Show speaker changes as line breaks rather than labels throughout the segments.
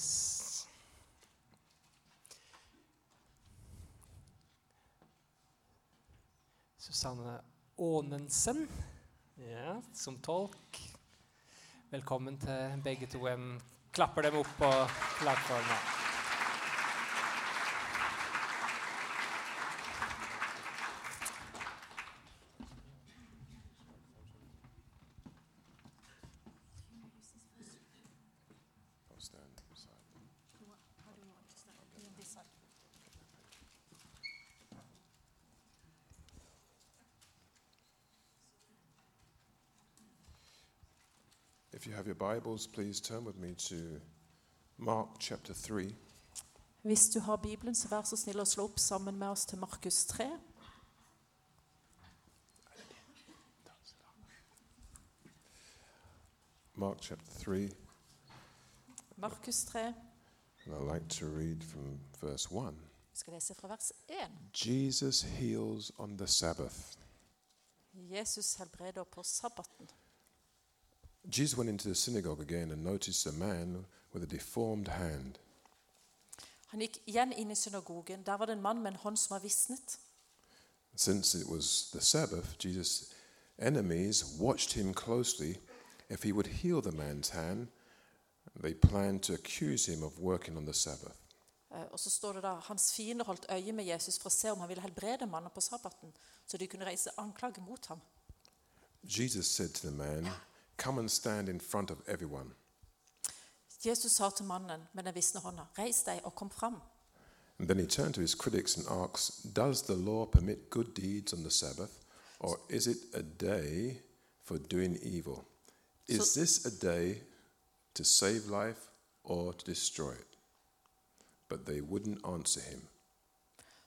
Dennis Susanne Aanensen ja, som tolk. Velkommen til begge to. En klapper dem opp på plattformen.
If you have your Bibles, please turn with me to Mark chapter 3.
Hvis du har Bibelen, så vær så snill å slå opp sammen med oss til Markus 3.
Mark chapter 3,
Markus 3.
and I'd like to read from verse 1.
Vi skal lese fra vers 1.
Jesus heals on the Sabbath.
Jesus helbreder på sabbaten.
Jesus went into the synagogue again and noticed a man with a deformed hand.
Han gikk igjen inn i synagogen. Der var det en mann med en hånd som var visnet.
Since it was the Sabbath, Jesus' enemies watched him closely if he would heal the man's hand. They planned to accuse him of working on the Sabbath.
Eh, Og så står det da, Hans fiender holdt øye med Jesus for å se om han ville helbrede mannen på sabbaten, så de kunne reise anklage mot ham.
Jesus said to the man, Come and stand in front of everyone.
Jesus sa til mannen med den visne hånda, 'Reis deg og kom fram.'
And then he turned to his critics and asked, Does the law permit good deeds on the Sabbath, or is it a day for doing evil? Is this a day to save life or to destroy it? But they wouldn't answer him.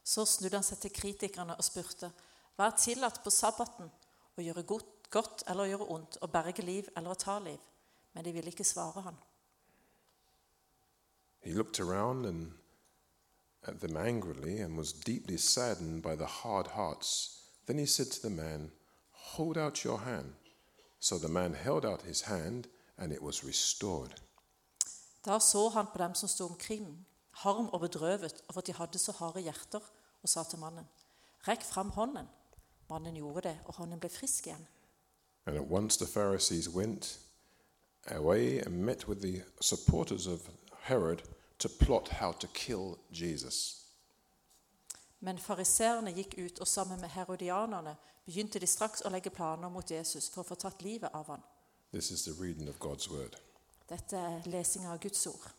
Så snudde han seg til kritikerne og spurte, 'Hva er tillatt på sabbaten? Å gjøre godt, godt eller å gjøre ondt? Å berge liv eller å ta liv?' Men de ville ikke svare han.
He looked around and at them angrily and was deeply saddened by the hard hearts. Then he said to the man, Hold out your hand. So the man held out his hand, and it was restored.
Da så han på dem som sto omkring, harm og bedrøvet over at de hadde så harde hjerter, og sa til mannen, 'Rekk fram hånden.' Mannen gjorde det, og hånden ble frisk igjen.
And at once the Pharisees went away and met with the supporters of Herod to plot how to kill Jesus.
Men fariseerne gikk ut, og sammen med herodianerne begynte de straks å legge planer mot Jesus for å få tatt livet av han.
This is the reading of God's word.
Dette er lesinga av Guds ord.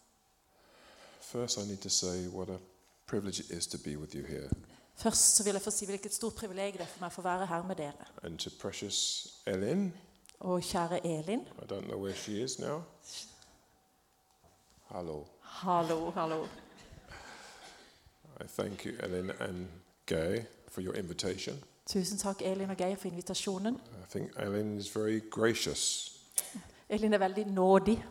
First, I need to say what a privilege it is to be with you here
Først så vil jeg få si hvilket stort privilegium det er for meg å få være her med dere.
and to precious Ellen.
Og kjære Elin.
I don't know where she is now. Hello.
Hallo, hallo.
I thank you, Ellen and Gay, for your invitation.
Tusen takk, Elin og Geir, for invitasjonen.
I think Ellen is very gracious
Elin er veldig nådig.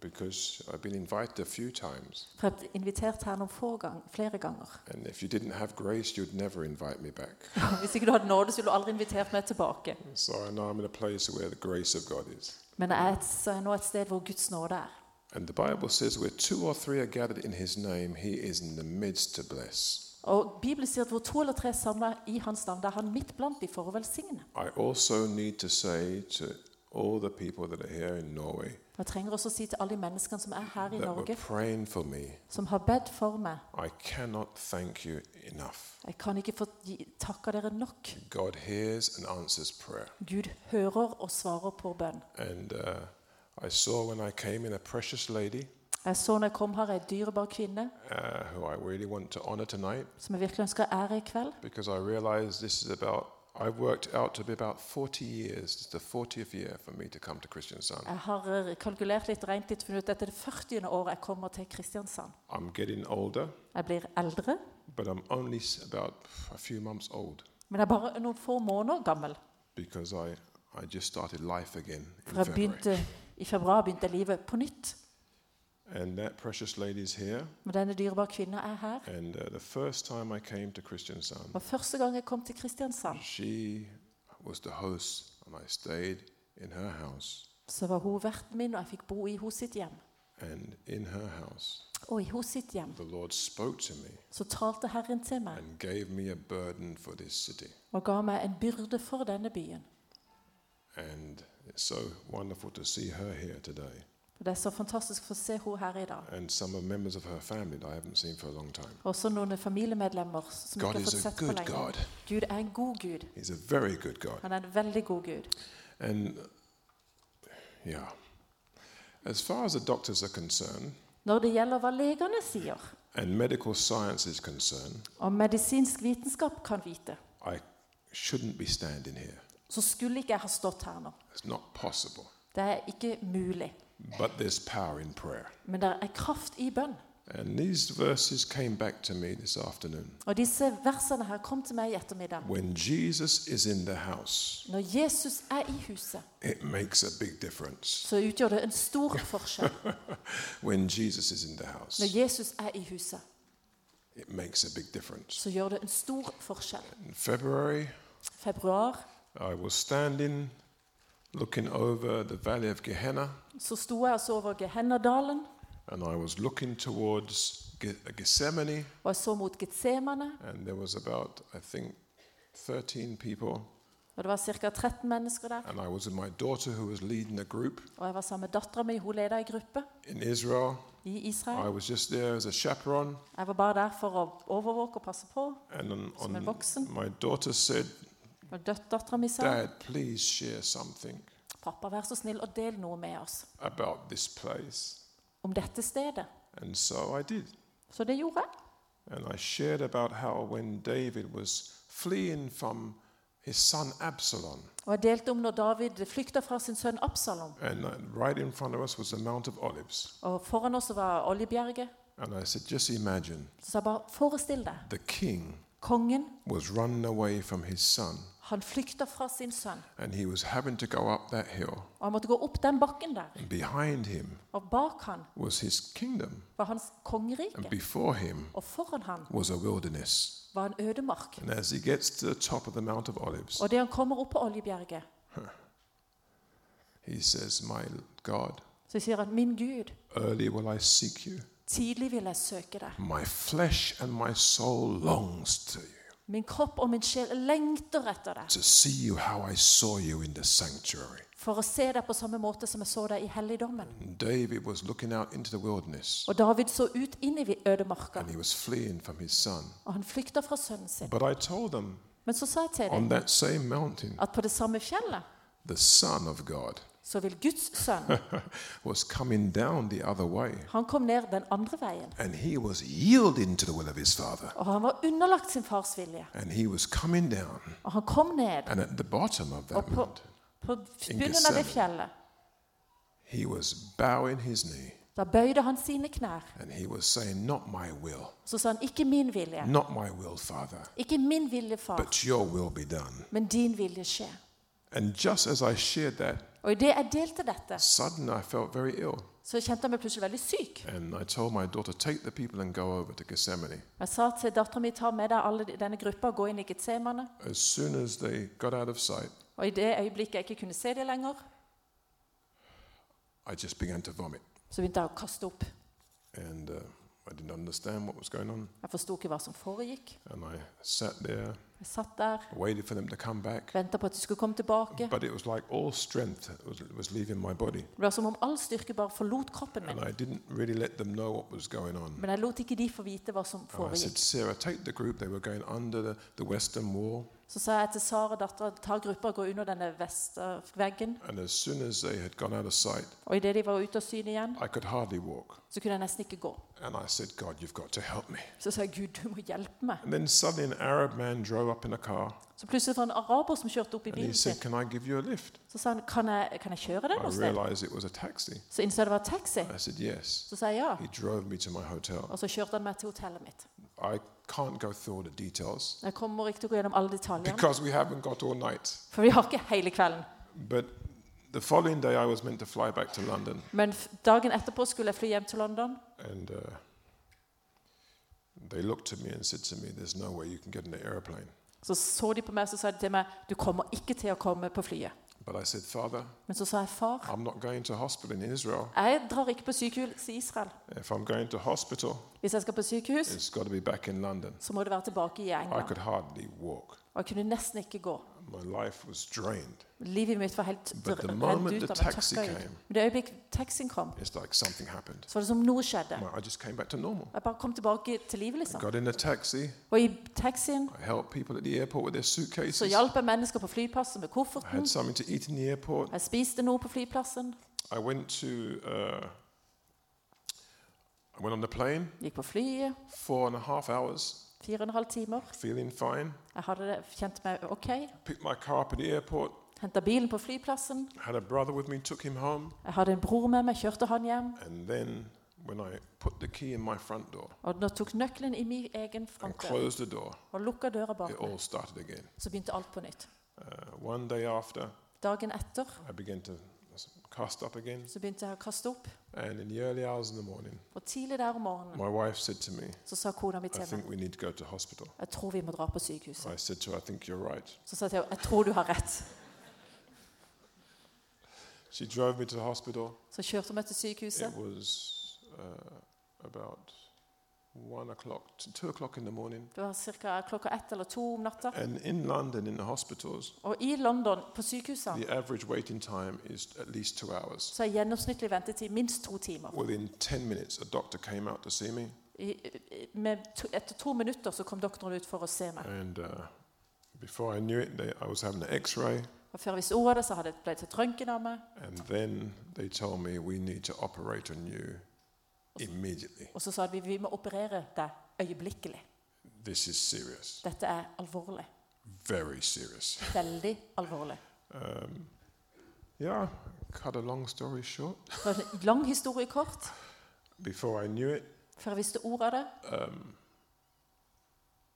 because I've been invited a few times.
For jeg har blitt invitert her noen få gang, flere ganger.
And if you didn't have grace, you'd never invite me back.
Hvis ikke du hadde nåde, så ville du aldri invitert meg tilbake.
So I know I'm in a place where the grace of God is.
Men jeg er et, så er jeg nå et sted hvor Guds nåde er.
And the Bible says, where two or three are gathered in his name, he is in the midst to bless.
Og Bibelen sier at hvor to eller tre er samla i hans navn, der er han midt blant de for å velsigne.
I also need to say to all the people that are here in Norway
Og Jeg trenger også å si til alle de menneskene som er her i
that were
Norge,
praying for me,
som har bedt for meg
I cannot thank you enough.
Jeg kan ikke få gi- takke dere nok.
God hears and answers prayer.
Gud hører og svarer på bønn.
And uh, I saw when I came in a precious lady
Jeg så når jeg kom her, ei dyrebar kvinne
uh, who I really want to honor tonight
som jeg virkelig ønsker ære i kveld.
because I realize this is about, I've worked out to be about 40 years. It's the 40th year for me to come to Christian Sun.
Jeg har eh, kalkulert litt, regnet litt, funnet ut at dette er det 40. året jeg kommer til Kristiansand.
I'm getting older,
Jeg blir eldre,
but I'm only s- about a few months old
men jeg er bare noen få måneder gammel.
because I, I just started life again in
For jeg
February.
begynte, I februar begynte jeg livet på nytt.
And that precious lady's here.
Men denne dyrebare kvinna er her.
And uh, the first time I came to Christian Sun,
Og første gang jeg kom til Kristiansand,
she was the host, and I stayed in her house.
så var hun verten min, og jeg fikk bo i hos sitt hjem.
And in her house,
Og i hos sitt hjem
the Lord spoke to me
så talte Herren til meg
and gave me a burden for this city.
og ga meg en byrde for denne byen.
And it's so wonderful to see her here today.
Og Det er så fantastisk å få se henne her i dag.
And some of members of her family that I haven't seen for a long time.
Også noen familiemedlemmer som
God
ikke har
is
fått
a
sett på
good
lenge.
God.
Gud er en god Gud.
He's a very good God.
Han er en veldig god Gud.
And yeah. As far as the doctors are concerned
Når det gjelder hva legene sier,
and medical science is concerned,
og medisinsk vitenskap kan vite,
I shouldn't be standing here.
så skulle ikke jeg ha stått her nå.
It's not possible.
Det er ikke mulig.
But there's power in prayer.
Men det er kraft i bønn.
And these verses came back to me this afternoon.
Og disse versene her kom til meg i ettermiddag.
When Jesus is in the house,
Når Jesus er i huset,
it makes a big difference.
så utgjør det en stor forskjell.
When Jesus is in the house,
Når Jesus er i huset,
it makes a big difference.
så gjør det en stor forskjell.
In February,
Februar
I was standing looking over the valley of Gehenna,
så sto jeg og så over Gehennadalen,
and I was looking towards Ge- Gethsemane,
og jeg så mot Getsemane,
and there was about, I think, 13 people,
og det var ca. 13 mennesker der.
and I was with my daughter who was leading a group
Og jeg var sammen med dattera mi, hun leda ei gruppe
in Israel.
i
I
Israel.
was just there as a chaperone,
Jeg var bare der for å overvåke og passe på.
and on,
Som en
on,
voksen.
my daughter said,
Og dattera mi sa
Dad, please share something
pappa, vær så snill og del noe med oss
about this place.
om dette stedet.
And so I did.
Så det gjorde jeg.
And I shared about how when David was fleeing from his son Absalom,
Og jeg delte om når David flykta fra sin sønn Absalom.
and uh, right in front of us was the Mount of Olives.
Og foran oss var Oljebjerget.
And I said, just imagine
Så sa jeg bare forestill deg.
the king
Kongen,
was running away from his son,
han flykta fra sin sønn.
and he was having to go up that hill.
Og han måtte gå opp den bakken der.
And behind him
Og bak han
was his kingdom,
var hans
and
kongerike.
before him
Og foran han
was a wilderness.
var en ødemark.
And as he gets to the top of the Mount of Olives,
Og det han kommer opp på Oljebjerget,
he says, My God,
så sier han, min Gud,
early will I seek you.
tidlig vil jeg søke deg.
My flesh and my soul longs to you.
Min kropp og min sjel lengter etter deg
to see you how I saw you in the sanctuary.
for å se deg på samme måte som jeg så deg i helligdommen.
And David was looking out into the wilderness
Og David så ut inn i vi- ødemarka,
and he was fleeing from his son.
og han flykta fra sønnen sin.
But I told them
Men så sa jeg til dem
on that same mountain,
at på det samme fjellet
the Son of God
så vil Guds sønn,
was coming down the other way
han kom ned den andre veien.
and he was yielding to the will of his Father.
Og han var underlagt sin fars vilje.
And he was coming down.
Og han kom ned
And at the bottom of that
Opo-
mountain,
på bunnen av det fjellet.
he was bowing his knee
Da bøyde han sine knær.
and he was saying, Not my will,
Så sa han, ikke min vilje,
not my will, Father,
ikke min vilje, far,
but your will be done.
men din vilje skje.
And just as I shared that,
Og idet jeg delte dette,
sudden I felt very ill.
så kjente jeg meg plutselig veldig syk.
And I told my daughter, take the people and go over to Gethsemane.
Jeg sa til dattera mi ta med deg alle de- denne gruppa og gå inn i Getsemane.
As soon as they got out of sight,
Og i det øyeblikket jeg ikke kunne se dem lenger,
I just began to vomit.
så begynte jeg å kaste opp.
And uh, I didn't understand what was going on.
Jeg forsto ikke hva som foregikk.
And I sat there,
Jeg satt der,
waited for them to come back.
venta på at de skulle komme tilbake.
But it was like all strength was, was leaving my body.
Det var som om all styrke bare forlot kroppen
And
min.
I didn't really let them know what was going on.
Men jeg lot ikke de få vite hva som
And I said,
foregikk.
Sarah, take the group. They were going under the, the western wall.
Så sa jeg til Sara, dattera, ta gruppa og gå under denne vesterveggen.
And as soon as they had gone out of sight,
Og idet de var ute av syne igjen,
I could hardly walk.
så kunne jeg nesten ikke gå.
And I said, God, you've got to help me.
Så sa jeg, Gud, du må hjelpe meg.
And then suddenly an Arab man drove up in a car
Så plutselig var det en araber som kjørte opp i
and he
bilen
said,
sin.
Can I give you a lift?
Så sa han, kan jeg, kan jeg kjøre deg
I
noe sted?
realized it was a taxi.
Så innså jeg det var taxi.
I said, Yes.
Så sa jeg ja.
He drove me to my hotel.
Og så kjørte han meg til hotellet mitt.
I can't go through all the details
Jeg kommer ikke til å gå gjennom alle detaljene,
because we haven't got all night.
for vi har ikke hele kvelden.
But the following day, I was meant to fly back to London
Men f- dagen etterpå skulle jeg fly hjem til London,
and uh, they looked to me and said to me, There's no way you can get in the airplane
så så de på meg og sa de til meg du kommer ikke til å komme på flyet.
But I said, Father,
Men så sa jeg, far,
I'm not going to hospital in Israel.
jeg drar ikke på sykehus i Israel.
If I'm going to hospital,
Hvis jeg skal på sykehus,
it's got to be back in London.
så må det være tilbake i
I
England.
could hardly walk.
Og jeg kunne nesten ikke gå.
My life was drained.
Livet mitt var helt
But the
redd
moment
ut
the
av en
taxi
tørka ut.
came,
Men det øyeblikk taxien kom,
it's like something happened.
så var det som om noe skjedde.
My- I just came back to normal.
Jeg bare kom tilbake til livet,
I
liksom.
got in a taxi.
Og i taxien
I helped people at the airport with their suitcases.
så hjalp jeg mennesker på flyplassen med
I
kofferten.
had something to eat in the airport.
Jeg spiste noe på flyplassen.
I went to. Uh, I went on the plane
Gikk på flyet.
four and a half hours,
Fire og en halv timer.
feeling fine.
Jeg hadde det, kjente meg ok.
Picked my car up at the airport.
Henta bilen på flyplassen.
Had a brother with me, took him home,
Jeg hadde en bror med meg, kjørte han hjem.
and then when I put the key in my front door
Og nå tok nøkkelen i min egen
and
frontdør
closed the door,
og lukka døra bak
it
meg.
all started again.
Så begynte alt på nytt.
Uh, one day after,
Dagen etter
I began to cast up again,
så begynte jeg å kaste opp.
and in the early hours in the morning,
Og tidlig der om morgenen
my wife said to me,
så sa kona mi
"I
til meg
think we need to go to hospital."
jeg tror vi må dra på sykehuset.
I said to her, "I think you're right."
Så sa jeg til henne jeg tror du har rett.
She drove me to the hospital.
Så kjørte hun meg til
It
sykehuset.
was uh, about one o'clock, t- two o'clock in the morning.
Det var ca. klokka ett eller to om natta.
And in London, in the hospitals,
Og i London, på sykehusene,
the average waiting time is at least two hours.
så er gjennomsnittlig ventetid minst to timer.
Within 10 minutes, a doctor came out to see me,
I, i- med to, etter to minutter så kom doktoren ut for å se meg.
and uh, before I knew it, they, I was having an x ray,
Og før jeg visste ordet av det, så hadde jeg blitt tatt røntgen av meg.
and then they told me we need to operate on you immediately.
Og så sa de vi må operere deg øyeblikkelig.
This is serious,
Dette er alvorlig.
very serious.
Veldig alvorlig.
Um, yeah, cut a long story short.
Det var en lang historie kort.
Before I knew it,
Før jeg visste ordet av det,
um,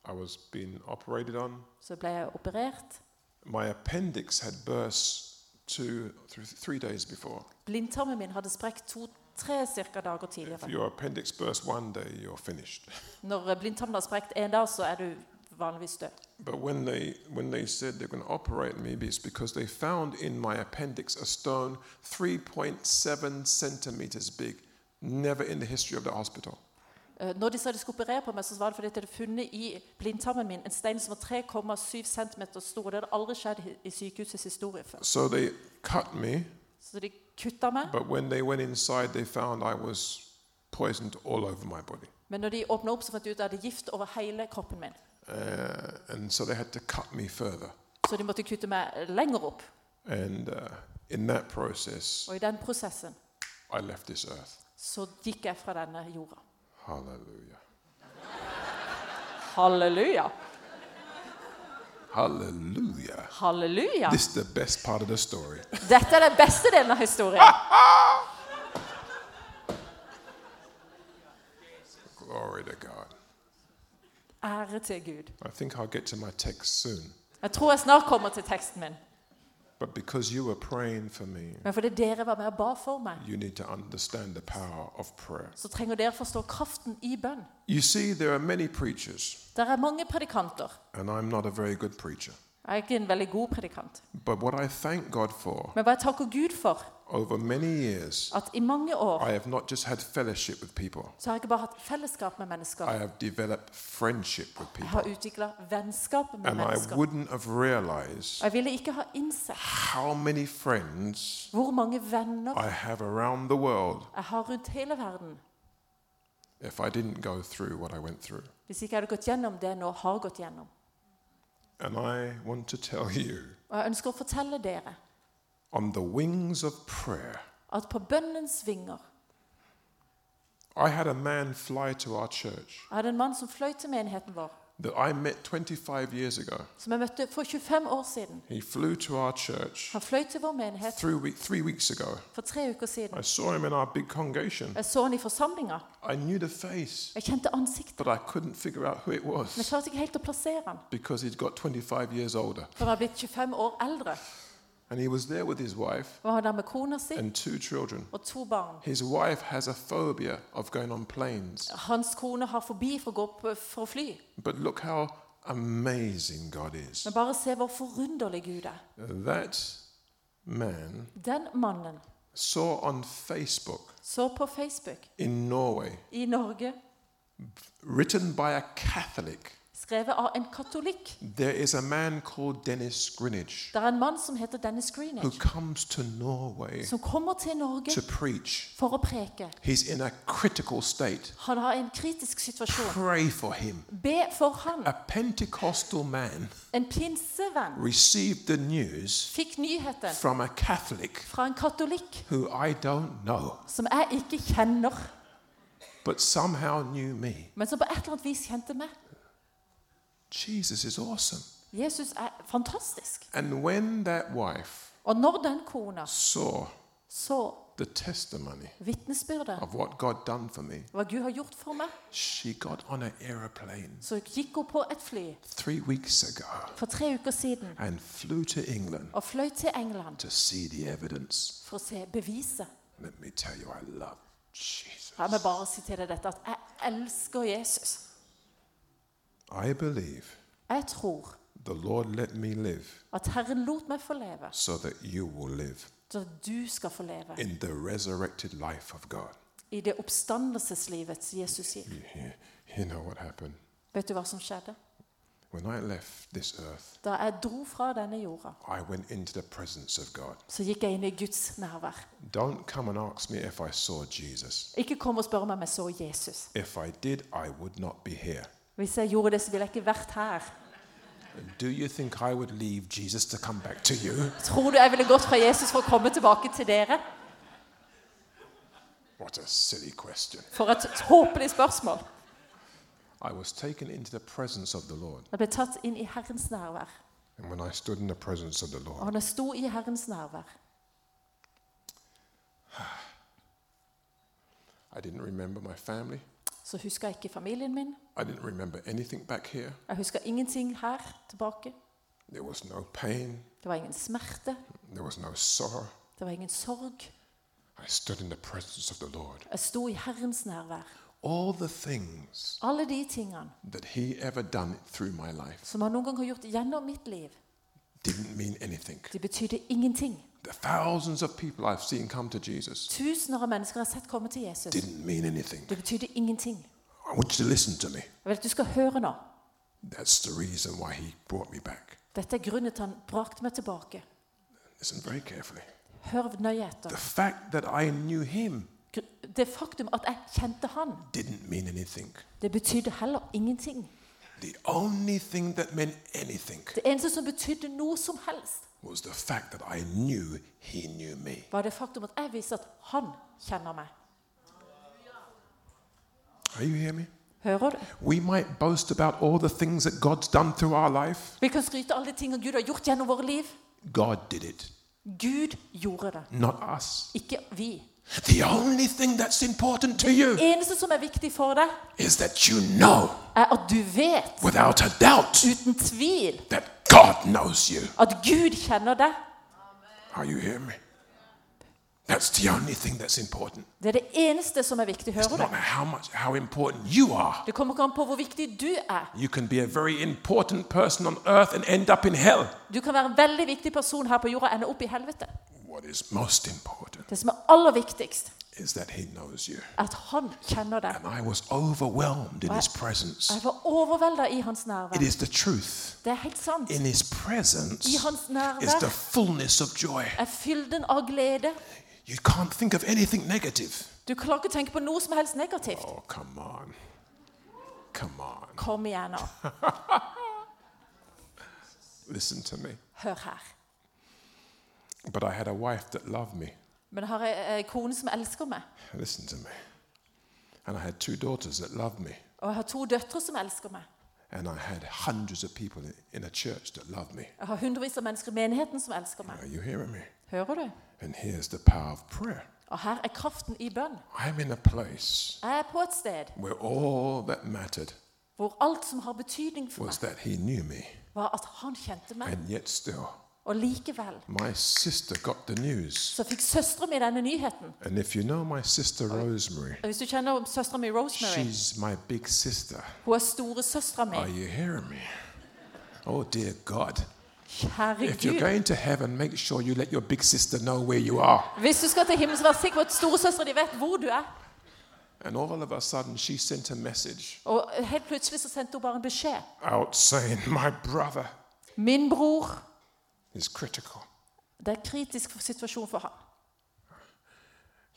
I was being operated on.
så ble jeg operert.
My appendix had burst two, th- three days before.
Blindtarmen min hadde sprukket to-tre cirka dager
If
tidligere.
your appendix bursts one day, you're finished.
Når blindtarmen har sprukket én dag, så er du vanligvis død.
But when they when they said they're going to operate me, it's because they found in my appendix a stone 3.7 centimeters big, never in the history of the hospital.
Eh, Når de sa de skulle operere på meg, så var det fordi at de hadde funnet i blindtarmen min en stein som var 3,7 cm stor. Det hadde aldri skjedd i- i sykehusets historie før.
So they cut me,
Så de kutta meg.
but when they went inside, they found I was poisoned all over my body.
Men når de åpna opp, så fant de ut at det er gift over hele kroppen min.
Uh, and so they had to cut me further.
Så de måtte kutte meg lenger opp.
And uh, in that process,
Og i den prosessen
I left this earth.
så gikk jeg fra denne jorda.
Hallelujah.
Halleluja!
Hallelujah.
Halleluja!
This is the best part of the story.
Dette er den beste delen av historien.
Glory to God.
Ære til Gud.
I think I'll get to my text soon.
Jeg tror jeg snart kommer til teksten min.
But because you were praying for me,
Men fordi dere var med og ba for meg,
you need to understand the power of prayer.
så trenger dere forstå kraften i bønn.
You see, there are many preachers,
Der er mange predikanter.
and I'm not a very good preacher.
Jeg er ikke en veldig god predikant.
But what I thank God for,
Men hva jeg takker Gud for,
over many years,
at i mange år
I have not just had fellowship with people,
så har jeg ikke bare hatt fellesskap med mennesker.
I have developed friendship with
Jeg
people.
har utvikla vennskap med
And I
mennesker.
wouldn't have realized
Og jeg ville ikke ha innsett
how many friends
hvor mange venner
I have around the world
jeg har rundt hele verden
if I didn't go through what I went through.
hvis ikke jeg hadde gått gjennom det jeg nå har gått gjennom.
And I want to tell you
Og jeg ønsker å fortelle dere
on the wings of prayer,
at på bønnens vinger
I had a man fly to our church
Jeg hadde en mann som fløy til menigheten vår,
that I met 25 years ago.
som jeg møtte for 25 år siden.
He flew to our church
Han fløy til vår menighet
three, week, three weeks ago.
for tre uker siden.
I saw him in our big congregation.
Jeg så han i forsamlinga.
I knew the face,
Jeg kjente ansiktet,
but I couldn't figure out who it
men jeg
was
klarte ikke helt å plassere han.
because he'd got 25 years older.
For han var blitt 25 år eldre.
And he was there with his wife
Og han var der med kona si
and two children.
og to barn.
His wife has a phobia of going on planes.
Hans kone har forbi for å gå på, for å fly.
But look how amazing God is.
Men bare se hvor forunderlig Gud er.
That man
Den mannen
saw on Facebook
så på Facebook
in Norway,
i Norge,
written by a Catholic,
skrevet av en katolikk.
there is a man called Dennis Greenwich
Det er en mann som heter Dennis
who
Greenwich,
comes to Norway
som kommer til
to
Norge
preach.
for å preke.
He's in a critical state.
Han har en kritisk situasjon.
Pray for him.
Be for han.
A Pentecostal man
En pinsevenn
received the news
fikk nyheten
from a Catholic
fra en katolikk
who I don't know,
som jeg ikke kjenner,
but somehow knew me.
men som på et eller annet vis kjente meg.
Jesus is awesome.
Jesus er fantastisk.
And when that wife
Og når den kona
saw
så
the testimony
vitnesbyrdet
of what God done for me,
hva Gud har gjort for meg,
she got on an aeroplane
så gikk hun på et fly
three weeks ago
for tre uker siden
and flew to England
og fløy til England
to see the evidence.
for å se beviset.
Let me tell you, I love Jesus.
La meg bare si til deg dette at jeg elsker Jesus.
I believe
Jeg tror
the Lord let me live
at Herren lot meg få leve,
so that you will live
så du skal få leve
in the resurrected life of God.
i det oppstandelseslivet som Jesus gir.
You, you- you know what happened?
Vet du hva som skjedde?
When I left this earth,
Da jeg dro fra denne jorda,
I went into the presence of God.
så gikk jeg inn i Guds nærvær.
Don't come and ask me if I saw Jesus.
Ikke kom og spør meg om jeg så Jesus.
If I did, I would not be here.
Hvis jeg gjorde det, så ville jeg ikke vært her.
Do you think I would leave Jesus to come back to you?
Tror du jeg ville gått fra Jesus for å komme tilbake til dere?
What a silly question.
For et tåpelig spørsmål.
I was taken into the presence of the Lord.
Jeg ble tatt inn i Herrens nærvær.
And when I stood in the presence of the
Og
Lord,
når jeg sto i Herrens nærvær,
I didn't remember my family.
så husker jeg ikke familien min.
I didn't remember anything back here.
Jeg husker ingenting her tilbake.
There was no pain.
Det var ingen smerte.
There was no sorrow.
Det var ingen sorg.
I stood in the presence of the Lord.
Jeg sto i Herrens nærvær.
All the things
Alle de tingene
that He ever done through my life
som han noen gang har gjort gjennom mitt liv,
didn't mean anything.
de betydde ingenting.
The thousands of people I've seen come to Jesus
Tusener av mennesker jeg har sett komme til Jesus.
didn't mean anything.
Det betydde ingenting.
I want you to listen to me.
Jeg vil at du skal høre nå.
That's the reason why he brought me back.
Dette er grunnen til han brakte meg tilbake.
Listen very carefully.
Hør nøye
The
etter.
fact that I knew him
Gr- Det faktum at jeg kjente han,
didn't mean anything.
det betydde heller ingenting.
The only thing that meant anything
Det eneste som betydde noe som helst,
was the fact that I knew he knew me.
var det faktum at jeg visste at han kjenner meg.
Are you hearing me?
Hører du?
We might boast about all the things that God's done through our life.
Vi kan skryte av alle de tingene Gud har gjort gjennom våre liv.
God did it,
Gud gjorde det,
not us.
ikke vi.
The only thing that's important to you
eneste som er viktig for deg,
is that you know
er at du vet,
without a doubt
uten tvil,
that God knows you.
at Gud kjenner deg.
Are you hearing me? That's the only thing that's important.
Det er det eneste som er viktig.
It's not
Hører du?
how much, how important you are.
Det kommer ikke an på hvor viktig du er.
You can be a very important person on earth and end up in hell.
Du kan være en veldig viktig person her på jorda og ende opp i helvete.
What is most important
Det som er aller viktigst,
is that He knows you.
er at han kjenner deg.
And I was overwhelmed in His presence.
Jeg var overvelda i hans
It
nærvær.
is the truth.
Det er helt sant.
In His presence
I hans
is the
nærvær
fullness of joy.
er fylden av glede.
You can't think of anything negative.
Du klarer ikke å tenke på noe som helst negativt.
Oh, come on. Come on.
Kom igjen nå.
Listen to me.
Hør her.
But I had a wife that loved me.
Men jeg har ei ei kone som elsker meg,
Listen to me. And I had two daughters that loved me.
og jeg har to døtre som elsker meg.
And I had hundreds of people in- in a church that loved me.
Jeg har hundrevis av mennesker i menigheten som elsker meg.
Are you hearing me?
Hører du?
And here's the power of prayer.
Og her er kraften i bønn.
I'm in a place
Jeg er på et sted
where all that mattered
hvor alt som har betydning for
was
meg,
that he knew me.
var at han kjente meg.
And yet, still,
Og likevel
my sister got the news.
så fikk søstera mi denne nyheten.
And if you know my sister Rosemary,
Og hvis du kjenner søstera mi Rosemary
she's my big sister.
Hun er storesøstera mi.
Are you hearing me? Oh, dear God.
Kjære
If you're
Gud.
going to heaven, make sure you let your big sister know where you are.
Hvis du skal til himmelen, så vær sikker på at storesøstera di vet hvor du er.
And all of a sudden, she sent a message
Og helt plutselig så sendte hun bare en beskjed.
out saying, My brother
Min bror
is critical.
Det er kritisk for situasjon for han.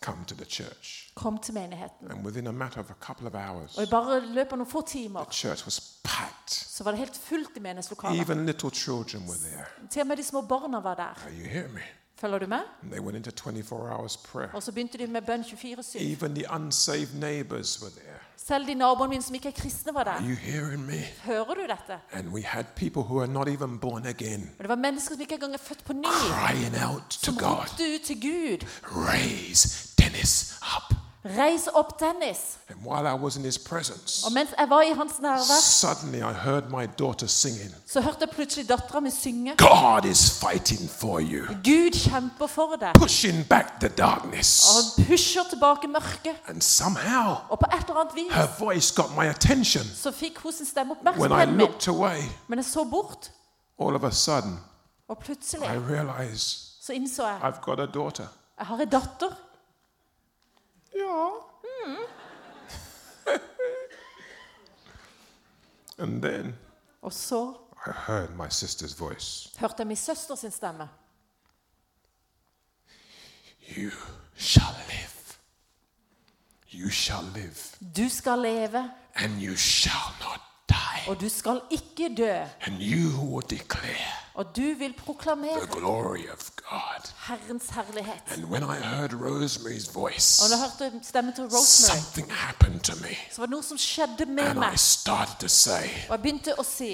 Come to the church.
Kom til menigheten.
And within a matter of a couple of hours,
Og i bare løpet av noen få
the
timer
church was packed.
så var det helt fullt i menighetslokalet.
Even little children were there.
Til og med de små barna var der.
Are you hearing me?
Følger du med?
And they went into 24 hours prayer.
Og så begynte de med bønn 24-7.
Even the unsaved neighbors were there.
Selv de naboene mine som ikke er kristne, var
Are
der.
you hearing me?
Hører du dette?
And we had people who are not even born again
Og det var mennesker som ikke engang er født på ny,
crying out Ah, to
som
God,
ropte ut til Gud.
Raise Dennis up.
Reis opp, Dennis!
And while I was in his presence,
Og mens jeg var i hans nærvær,
suddenly I heard my daughter singing,
så hørte jeg plutselig dattera mi synge.
God is fighting for you,
Gud kjemper for deg.
pushing back the
Og
darkness.
han pusher tilbake mørket.
And somehow
Og på et eller annet vis
her voice got my attention.
så fikk hun sin stemme
When I
oppmerksomheten min.
looked away,
Men jeg så bort,
all of a sudden
og plutselig
I realized
så innså jeg
I've got a daughter.
jeg har en datter.
Yeah. Hmm. and then
Og så
I heard my sister's voice.
hørte jeg min søster sin stemme.
You shall live. You shall live.
Du skal leve,
And you shall not die.
og du skal ikke dø.
And you will declare
Og du vil
the
proklamere
glory of God.
Herrens herlighet.
And when I heard Rosemary's
Og da
voice,
jeg hørte stemmen til Rosemary,
something happened to me.
så var det noe som skjedde med
And I
meg.
started to say,
Og jeg begynte å si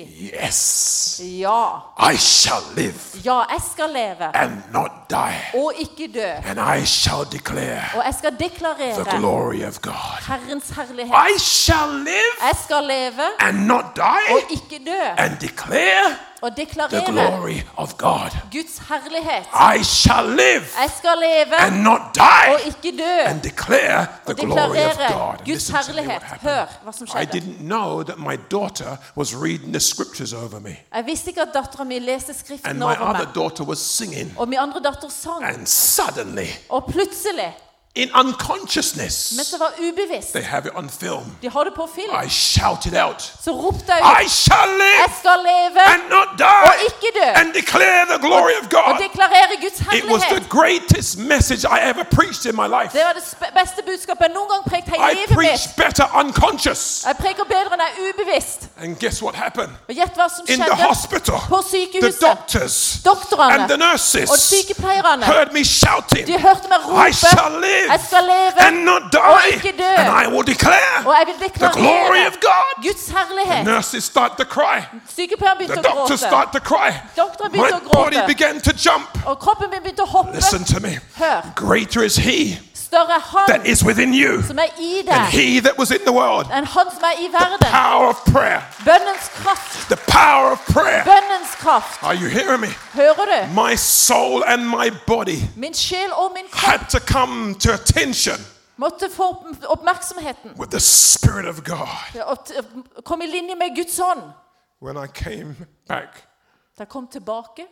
Yes,
ja.
I shall live
Ja, jeg skal leve,
and not die.
og ikke dø.
And I shall declare
Og jeg skal
the
deklarere
glory of God.
Herrens herlighet.
I shall live
Jeg skal leve
and not die,
og ikke dø.
and declare
Og
the
deklarere
glory of God.
Guds herlighet.
I shall live
Jeg skal leve
and not
og
die,
ikke dø.
and declare the glory of God.
Oh, Deklarere Guds
Listen to me what
herlighet. Hør
happened.
hva som
I
skjedde.
didn't know that my daughter was reading the scriptures over me,
Jeg visste ikke at dattera mi leste
and
Skriften
my
over
other
meg.
daughter was singing.
Og min andre datter sang.
And suddenly,
Og plutselig,
in
mens
unconsciousness,
jeg var ubevisst
they have it on film.
De har det på film.
I shouted out,
Så ropte jeg ut
I shall live
'Jeg skal leve
and not die
og ikke dø'.
and declare the glory of
Og
God.
deklarere Guds
It was the
herlighet.
greatest message I ever preached in my life.
Det var det sp- beste budskapet jeg noen gang prekte hele
I
livet mitt.
preached better unconscious.
Jeg preker bedre enn jeg er ubevisst.
And guess what happened?
Og gjett hva som
In the
skjedde
hospital,
på
the
sykehuset.
doctors
Doktorene
and the
og
nurses
sykepleierne
heard me shouting,
De hørte meg
I shall
rope Jeg
live
skal leve
and not die,
ikke dø.
and I will declare
Og jeg vil
the glory
deklarere
of God.
Guds
The
herlighet
nurses start to cry.
Sykepleieren
The
begynte å
doctors
gråte
start to cry.
Doktoren begynte
My
å
body
gråte.
began to jump.
Og kroppen min begynte å hoppe
Listen to me.
Hør.
Greater is he
Større er
that
han
is within you
som er i
than
deg
he that was in the world.
Enn han som er i
The
verden
power of prayer.
Bønnens kraft
The power of prayer.
Bønnens kraft
Are you hearing me?
Hører du?
My soul and my body
Min sjel og min kropp
had to come to attention
måtte få opp- oppmerksomheten
with the Spirit of God.
Og t- Kom i linje med Guds ånd
When I came back,
Da jeg kom tilbake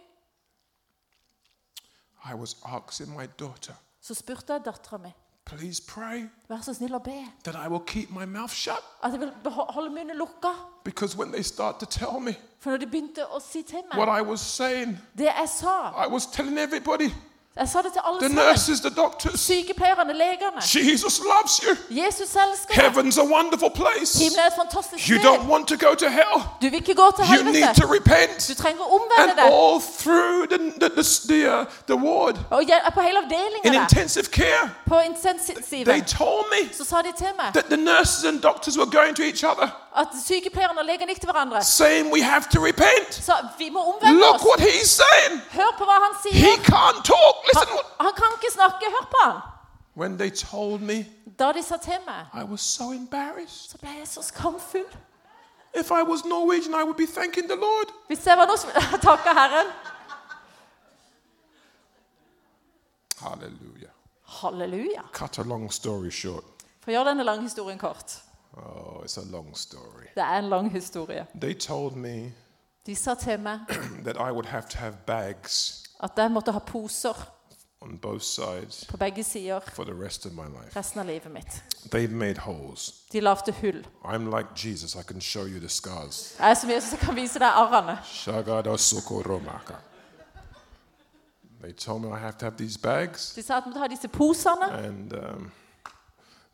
I was asking my daughter,
Så spurte jeg datteren min
please pray
Vær så snill og be
that I will keep my mouth shut
At jeg vil beho- holde munnen lukket
because when they start to tell me
For når de begynte å si til
what
meg
I was saying,
det jeg sa
I was telling everybody
Jeg sa det til alle
the
sammen.
nurses, the doctors,
Sykepleierne, legene.
Jesus loves you.
Jesus elsker deg.
Heaven's a wonderful place.
Himmelen er et fantastisk
You don't
sted.
want to go to hell.
Du vil ikke gå til
You need
helvete.
to repent.
Du trenger å omvende
And
deg.
all through the, the, the, the, uh, the ward
Og jeg er på hele
in
avdelingen der,
intensive care,
på
they
intensiven,
told me
så sa de til meg
that the nurses and doctors were going to each other
at sykepleierne og legene gikk til hverandre.
saying we have to repent.
Sa vi må omvende
Look
oss.
what he's saying.
Hør på hva han
He
sier.
can't talk. Listen.
Han,
what-
han kan ikke snakke. Hør på han.
When they told me,
Da de sa til meg,
I was so embarrassed.
så ble jeg så skamfull.
If I was Norwegian, I would be thanking the Lord.
Hvis jeg var noe som Takka Herren.
Hallelujah.
Halleluja.
Cut a long story short.
For å gjøre denne lange historien kort.
Oh, it's a long story.
Det er en lang historie.
They told me
De sa til meg
that I would have to have bags
at jeg måtte ha poser
on both sides
på begge sider
for the rest of my life.
resten av livet mitt.
They've made holes.
De lagde hull.
I'm like Jesus, I can show you the scars.
Jeg er så mye som kan vise deg arrene.
Shagada Sokoromaka. They told me I have to have these bags,
De sa at jeg måtte ha disse posene,
and um,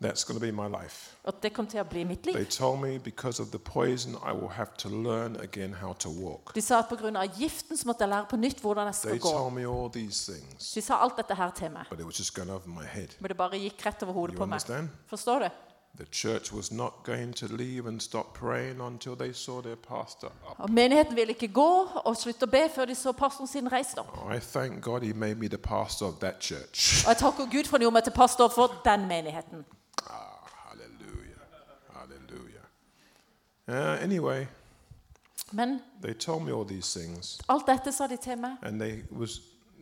that's going to be my life.
og det kom til å bli mitt liv.
They told me because of the poison, I will have to learn again how to walk.
De sa at pga. giften så måtte jeg lære på nytt hvordan jeg
They
skal gå.
told me all these things,
De sa alt dette her til meg,
but it was just going over my head.
men det bare gikk rett over hodet
You
på meg.
understand?
Forstår du?
The church was not going to leave and stop praying until they saw their pastor up.
Og Menigheten ville ikke gå og slutte å be før de så pastoren sin reist opp.
I thank God he made me the pastor of that church.
Og jeg takker Gud for at han gjorde meg til pastor for den menigheten.
Ah, hallelujah. Hallelujah. Uh, anyway,
Men
they told me all these things,
alt dette sa de til meg.
and they was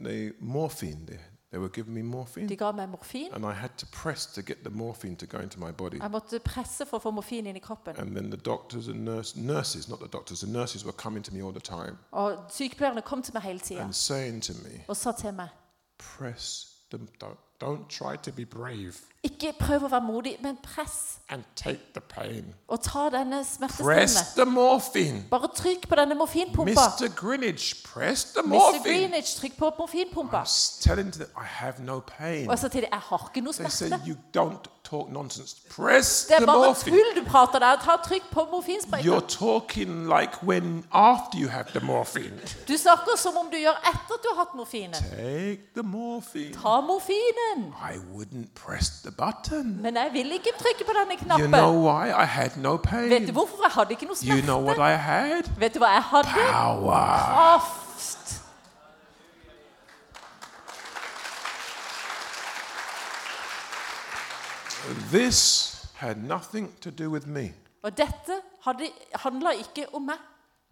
they morphine. They, they were giving me morphine,
De ga meg morfin.
and I had to press to get the morphine to go into my body.
Jeg måtte presse for å få morfin inn i kroppen.
And then the doctors and nurse, nurses, not the doctors, the nurses were coming to me all the time
Og sykepleierne kom til meg hele tida
and saying to me,
og sa til meg
"Press them. Don't, don't try to be brave
Ikke prøv å være modig, men press.
and take the pain.
Og ta denne
Press
smertestillende.
the morphine."
Bare trykk på denne morfinpumpa.
Mr. Greenwich, press the
Mr.
morphine.
Greenwich, trykk på morfinpumpa.
I was telling them, I have no pain.
Og jeg sa til dem jeg har ikke noe
They said,
smerte.
you don't talk nonsense. Press
Det
the
er bare
morphine.
tull du prater der. Ta trykk på morfinsprøyta.
You're talking like when after you have the morphine.
Du snakker som om du gjør etter at du har hatt morfinen.
Take the morphine.
Ta morfinen!
I wouldn't press the button.
Men jeg vil ikke trykke på denne
You
knappen.
know why? I had no
Vet du
pain.
hvorfor? Jeg hadde ikke noe
You
smerte.
know what I had?
Vet du hva jeg hadde?
Power.
Kraft.
This had nothing to do with me.
Og dette hadde, handla ikke om meg.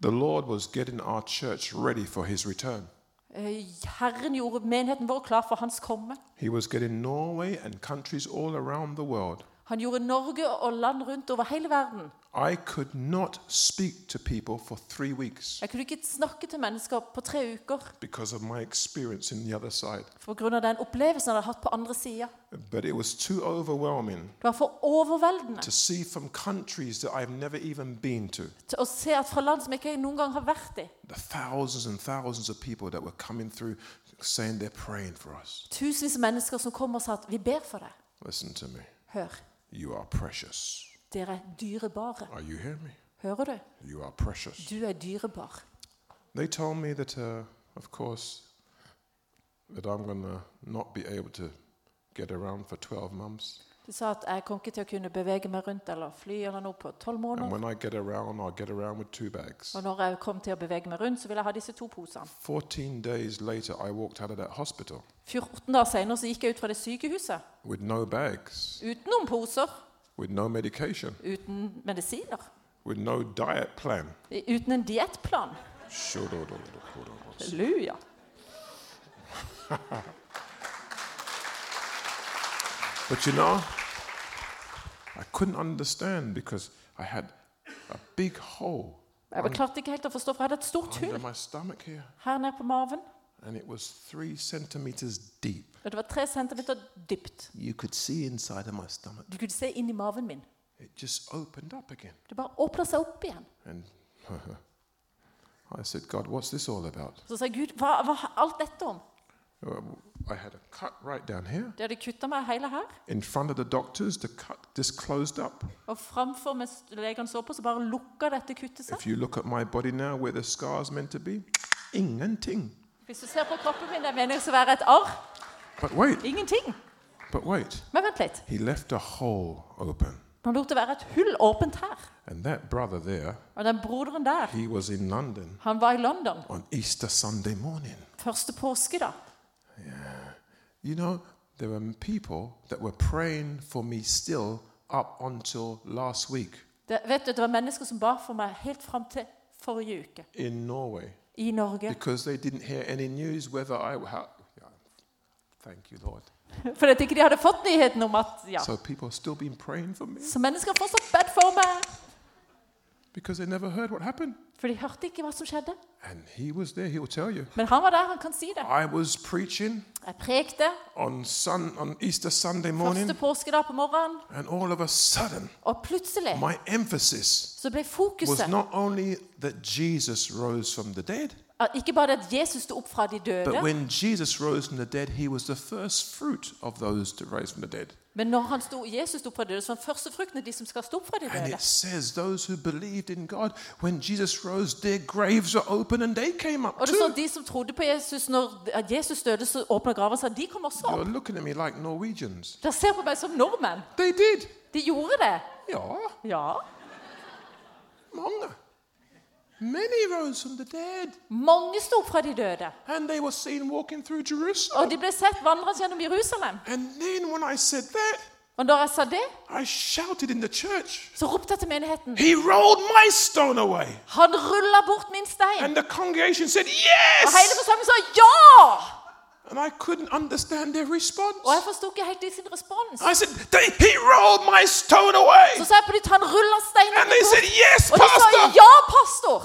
The Lord was getting our church ready for his return.
Eh, Herren gjorde menigheten vår klar for hans komme.
He was getting Norway and countries all around the world.
Han gjorde Norge og land rundt over hele verden.
I could not speak to people for three weeks
Jeg kunne ikke snakke til mennesker på tre uker
because of my experience in the other side.
pga. den opplevelsen jeg hadde hatt på andre sida.
But it was too overwhelming
Det var for overveldende
to see from countries that I've never even been to
til å se at fra land som jeg ikke noen gang har vært i
the thousands and thousands of people that were coming through saying they're praying for us.
Tusenvis av mennesker som kom og sa at 'vi ber for deg'.
Listen to me.
Hør,
You are precious.
dere er dyrebare.
Are you hearing me?
Hører du?
You are precious.
Du er dyrebar.
They told me that, uh, of course, that I'm going to not be able to get around for 12 months.
Du sa at jeg kom ikke til å kunne bevege meg rundt eller fly eller noe på tolv
And
måneder.
when I get around, I'll get around with two bags.
Og når jeg kom til å bevege meg rundt, så ville jeg ha disse to posene.
14 days later, I walked out of that hospital
14 dager senere så gikk jeg ut fra det sykehuset
with no bags,
uten noen poser,
with no medication,
uten medisiner,
with no diet plan.
i- uten en diettplan. Halleluja.
But you know, I couldn't understand because I had a big hole
Jeg bare klarte ikke helt å forstå, for jeg hadde et stort
under
hull
my stomach here,
her nede på maven.
and it was three centimeters deep.
Og det var tre centimeter dypt.
You could see inside of my stomach.
Du kunne se inn i maven min.
It just opened up again.
Det bare åpna seg opp igjen.
And I said, God, what's this all about?
Så sa jeg, Gud, hva hva er alt dette om?
Uh, I had a cut right down here.
De hadde kutta meg hele her.
In front of the doctors, the cut just closed up.
Og framfor mens legene så på, så bare lukka dette kuttet seg.
If you look at my body now, where the scar's meant to be, ingenting.
Hvis du ser på kroppen min, det er meningen å være et arr.
But wait,
Ingenting.
but wait.
Men vent litt.
He left a hole open.
Han lot det være et hull åpent her.
And that brother there,
Og den broderen der,
he was in London
han var i London
on Easter Sunday morning.
første påske, da.
You know, there were people that were praying for me still up until last week
Det, vet du, det var mennesker som ba for meg helt fram til forrige uke
in Norway
i Norge.
because they didn't hear any news whether I. How, yeah, thank you, Lord.
For at ikke de hadde fått nyheten om at ja.
So people have still been praying for me.
Så mennesker har fortsatt bedt for meg.
because they never heard what happened.
For de hørte ikke hva som skjedde.
And he was there, he will tell you.
Men han var der, han kan si det.
I was preaching
Jeg prekte
on, sun, on Easter Sunday morning,
første påskedag på morgenen,
and all of a sudden,
og plutselig
my emphasis
så ble
was
fokuset
not only that Jesus rose from the dead,
at ikke bare det at Jesus sto opp fra de
but
døde,
when Jesus rose from the dead, he was the first fruit of those to rise from the dead.
men når han sto, Jesus sto opp fra de døde, så var han førstefrukten av de som skal stå opp fra de
And
døde.
it says those who believed in God, when Jesus rose, their graves were open and they came up
Og det står
too.
at de som trodde på Jesus når at Jesus døde, så åpna graven seg. De kom også
You're
opp.
looking at me like Norwegians.
Dere ser på meg som nordmenn.
They did.
De gjorde det.
Yeah,
Ja.
mange. Many rose from the dead,
Mange sto opp fra de døde.
and they were seen walking through Jerusalem.
Og de ble sett vandrende gjennom Jerusalem.
And then when I said that,
Og da jeg sa det,
I shouted in the church,
så ropte jeg til menigheten.
He rolled my stone away.
Han rulla bort min stein.
And the congregation said,
Og hele
Yes!
forsamlingen sa ja!
And I couldn't understand their
Og jeg
response.
forsto ikke helt de sin respons.
I said, they, He rolled my stone away.
Så sa jeg på nytt han rulla steinen
And they
bort.
said, Yes,
Og de sa
Pastor!
ja, pastor!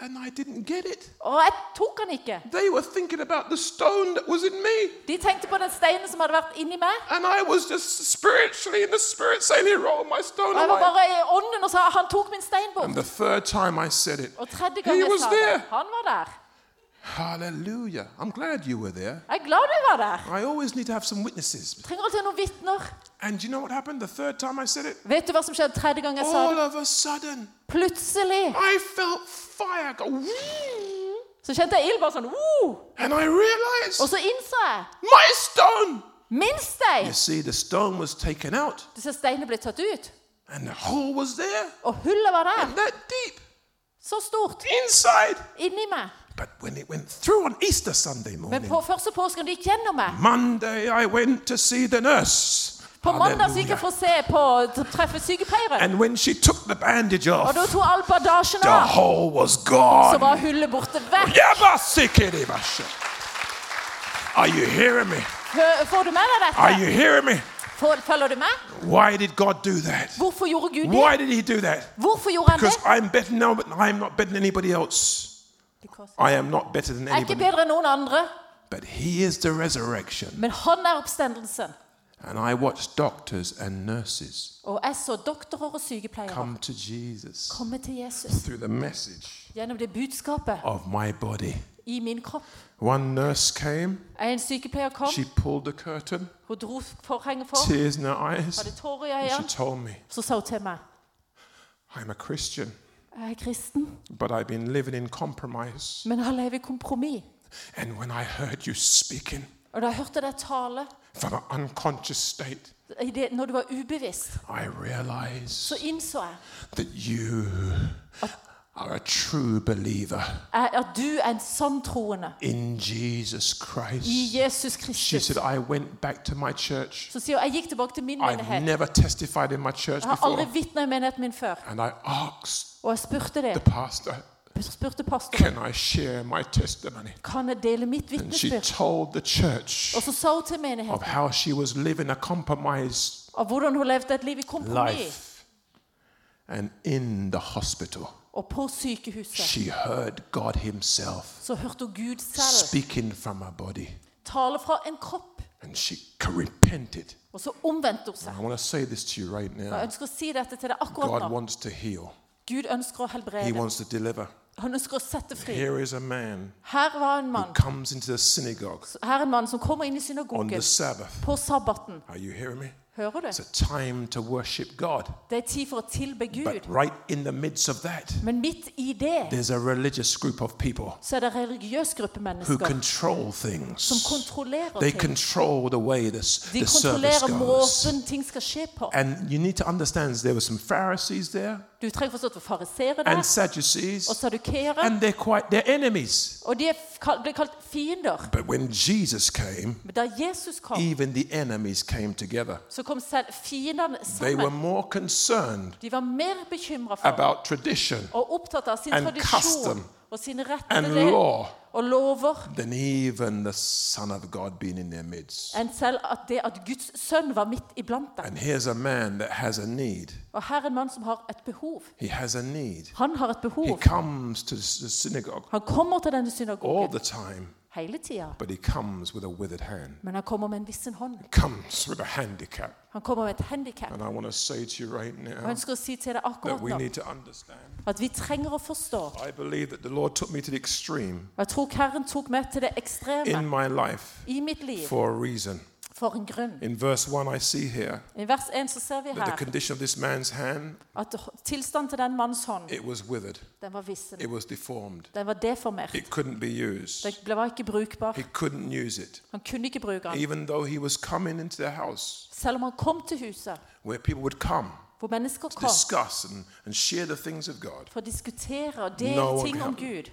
And I didn't get it.
Og jeg tok han ikke.
They were thinking about the stone that was in me.
De tenkte på den steinen som hadde vært inni meg.
And I was just spiritually in the spirit saying, He rolled my stone
Og jeg var
away.
bare i ånden og sa han tok min stein bort.
And the third time I said it,
Og tredje gang
He
jeg
was
sa
there.
det, han var der.
Hallelujah. I'm glad you were there.
Jeg er glad du var der.
I always need to have some witnesses.
Trenger alltid noen vitner.
And do you know what happened the third time I said it?
Vet du hva som skjedde tredje gang jeg sa
All
det?
of a sudden,
Plutselig
I felt fire go, "Whee!"
så kjente jeg ild bare sånn wow!
and I realized
Og så innså jeg
my stone.
min
You
stein!
see, the stone was taken out,
Du ser steinene ble tatt ut.
and the hole was there,
Og hullet var der.
and that deep
Så stort
inside.
inni meg.
But when it went through on Easter Sunday
Men
morning,
på første påsken det gikk gjennom meg.
Monday I went to see the nurse.
På mandag så gikk jeg
Hallelujah.
for å se på å treffe sykepleieren.
And when she took the bandage
Og
off,
da tok all bandasjen
the
av.
hole was
Så
gone.
var hullet borte vekk.
Yabasikiribasha. Are you hearing me?
Hø- Får du med deg
Are you
dette?
hearing me?
Får- Følger du med?
Why did God do that?
Hvorfor gjorde Gud det?
Why did He do that?
Hvorfor gjorde han
Because
det?
I'm better now, but I'm not better than anybody else. I am not better than
Jeg er ikke
anybody.
bedre enn noen andre,
But He is the resurrection.
men han er oppstendelsen.
And I watch doctors and nurses
Og jeg så doktorer og sykepleiere
come to Jesus
komme til Jesus
through the message
gjennom det budskapet
of my body.
i min kropp.
One nurse came,
En sykepleier kom,
she pulled the curtain,
hun dro forhenget for,
tears in her eyes,
hadde tårer i
and she
øynene.
told me,
Så sa hun til meg
I'm a Christian,
Jeg er kristen,
but I've been living in compromise.
men jeg lever i kompromiss.
And when I heard you speaking
Og da jeg hørte deg tale
from an unconscious state,
i det, når du var ubevisst,
I realized
så innså jeg
that you are a true believer
jeg- at du er en sann troende
in Jesus
i
Christ.
Jesus
She
Kristus.
said, I went back to my church.
Så sier hun Jeg gikk tilbake til min
I've
menighet.
never testified in my church
Jeg har aldri
before.
vitna i menigheten min før.
And I asked
Og jeg spurte
the
det.
pastor,
spurte pastoren
Can I share my testimony?
kan jeg dele mitt
And she
vitnesbyrd.
told the church
Og så sa hun til menigheten
of how she was living a compromised
av hvordan hun levde et liv i kompromiss.
life. And in the hospital,
Og på sykehuset
she heard God Himself
så hørte hun Gud selv
speaking from her body.
tale fra en kropp.
And she repented.
Og så omvendte hun seg.
I want to say this to you right
Jeg
now.
ønsker å si dette til deg akkurat
God
nå.
wants to heal.
Gud ønsker å
He
helbrede.
wants to deliver.
Han ønsker å sette fri.
Here is a man
Her var en
who
mann
comes into the synagogue
Her er en mann som kommer inn i
on
synagogen
the Sabbath.
på sabbaten.
Are you hearing me?
Hører
It's
du?
a time to worship God.
Det er tid for å tilbe
But
Gud.
right in the midst of that,
Men midt i det
there's a religious group of people
så er det en religiøs gruppe
who
mennesker
control
som
things.
kontrollerer
They
ting.
control the way this,
De
the service
kontrollerer
goes.
måten ting skal skje på.
And you need to understand there were some Pharisees there
Du trenger forstått hva farisere
and
er, og
Sadducees,
sadukere,
and they're quite they're enemies.
og de er f- kal- blir kalt fiender.
But when Jesus came,
Men da Jesus kom,
even the enemies came together.
så kom selv fiendene
They were
sammen.
more concerned
De var mer bekymra for
about tradition
og opptatt av sin
and
tradisjon
custom
og sine
and
rette
law
og lover
than even the Son of God being in their midst.
enn selv at det at Guds sønn var midt iblant dem.
And here's a man that has a need.
Og her er en mann som har et behov.
He has a need.
Han har et
He
behov.
comes to the synagogue
Han kommer til denne
all
synagogen
the time,
hele tida,
but he comes with a withered hand.
men han kommer med en vissen hånd.
Comes with a handicap.
Han kommer med et handikap.
And I want to say to you right
Og jeg
now
ønsker å si til deg
that
akkurat
we
nå
need to understand.
at vi trenger å forstå.
I believe that the Lord took me to the extreme
Og jeg tror Herren tok meg til det
in
ekstreme
my life
i mitt liv
for a reason.
for en grunn.
In verse 1, I see here
I vers 1 så ser vi
that the
her
condition of this man's hand,
at tilstanden til den mannens hånd,
it was withered,
den var vissen.
it was deformed,
Den var deformert.
it couldn't be used,
Den ble- var ikke brukbar.
he couldn't use it.
Han kunne ikke bruke den.
Even though he was coming into the house
Selv om han kom til huset,
where people would come,
hvor mennesker kom
discuss, and, and share the things of God.
for å diskutere og dele
No one
ting om
helped.
Gud.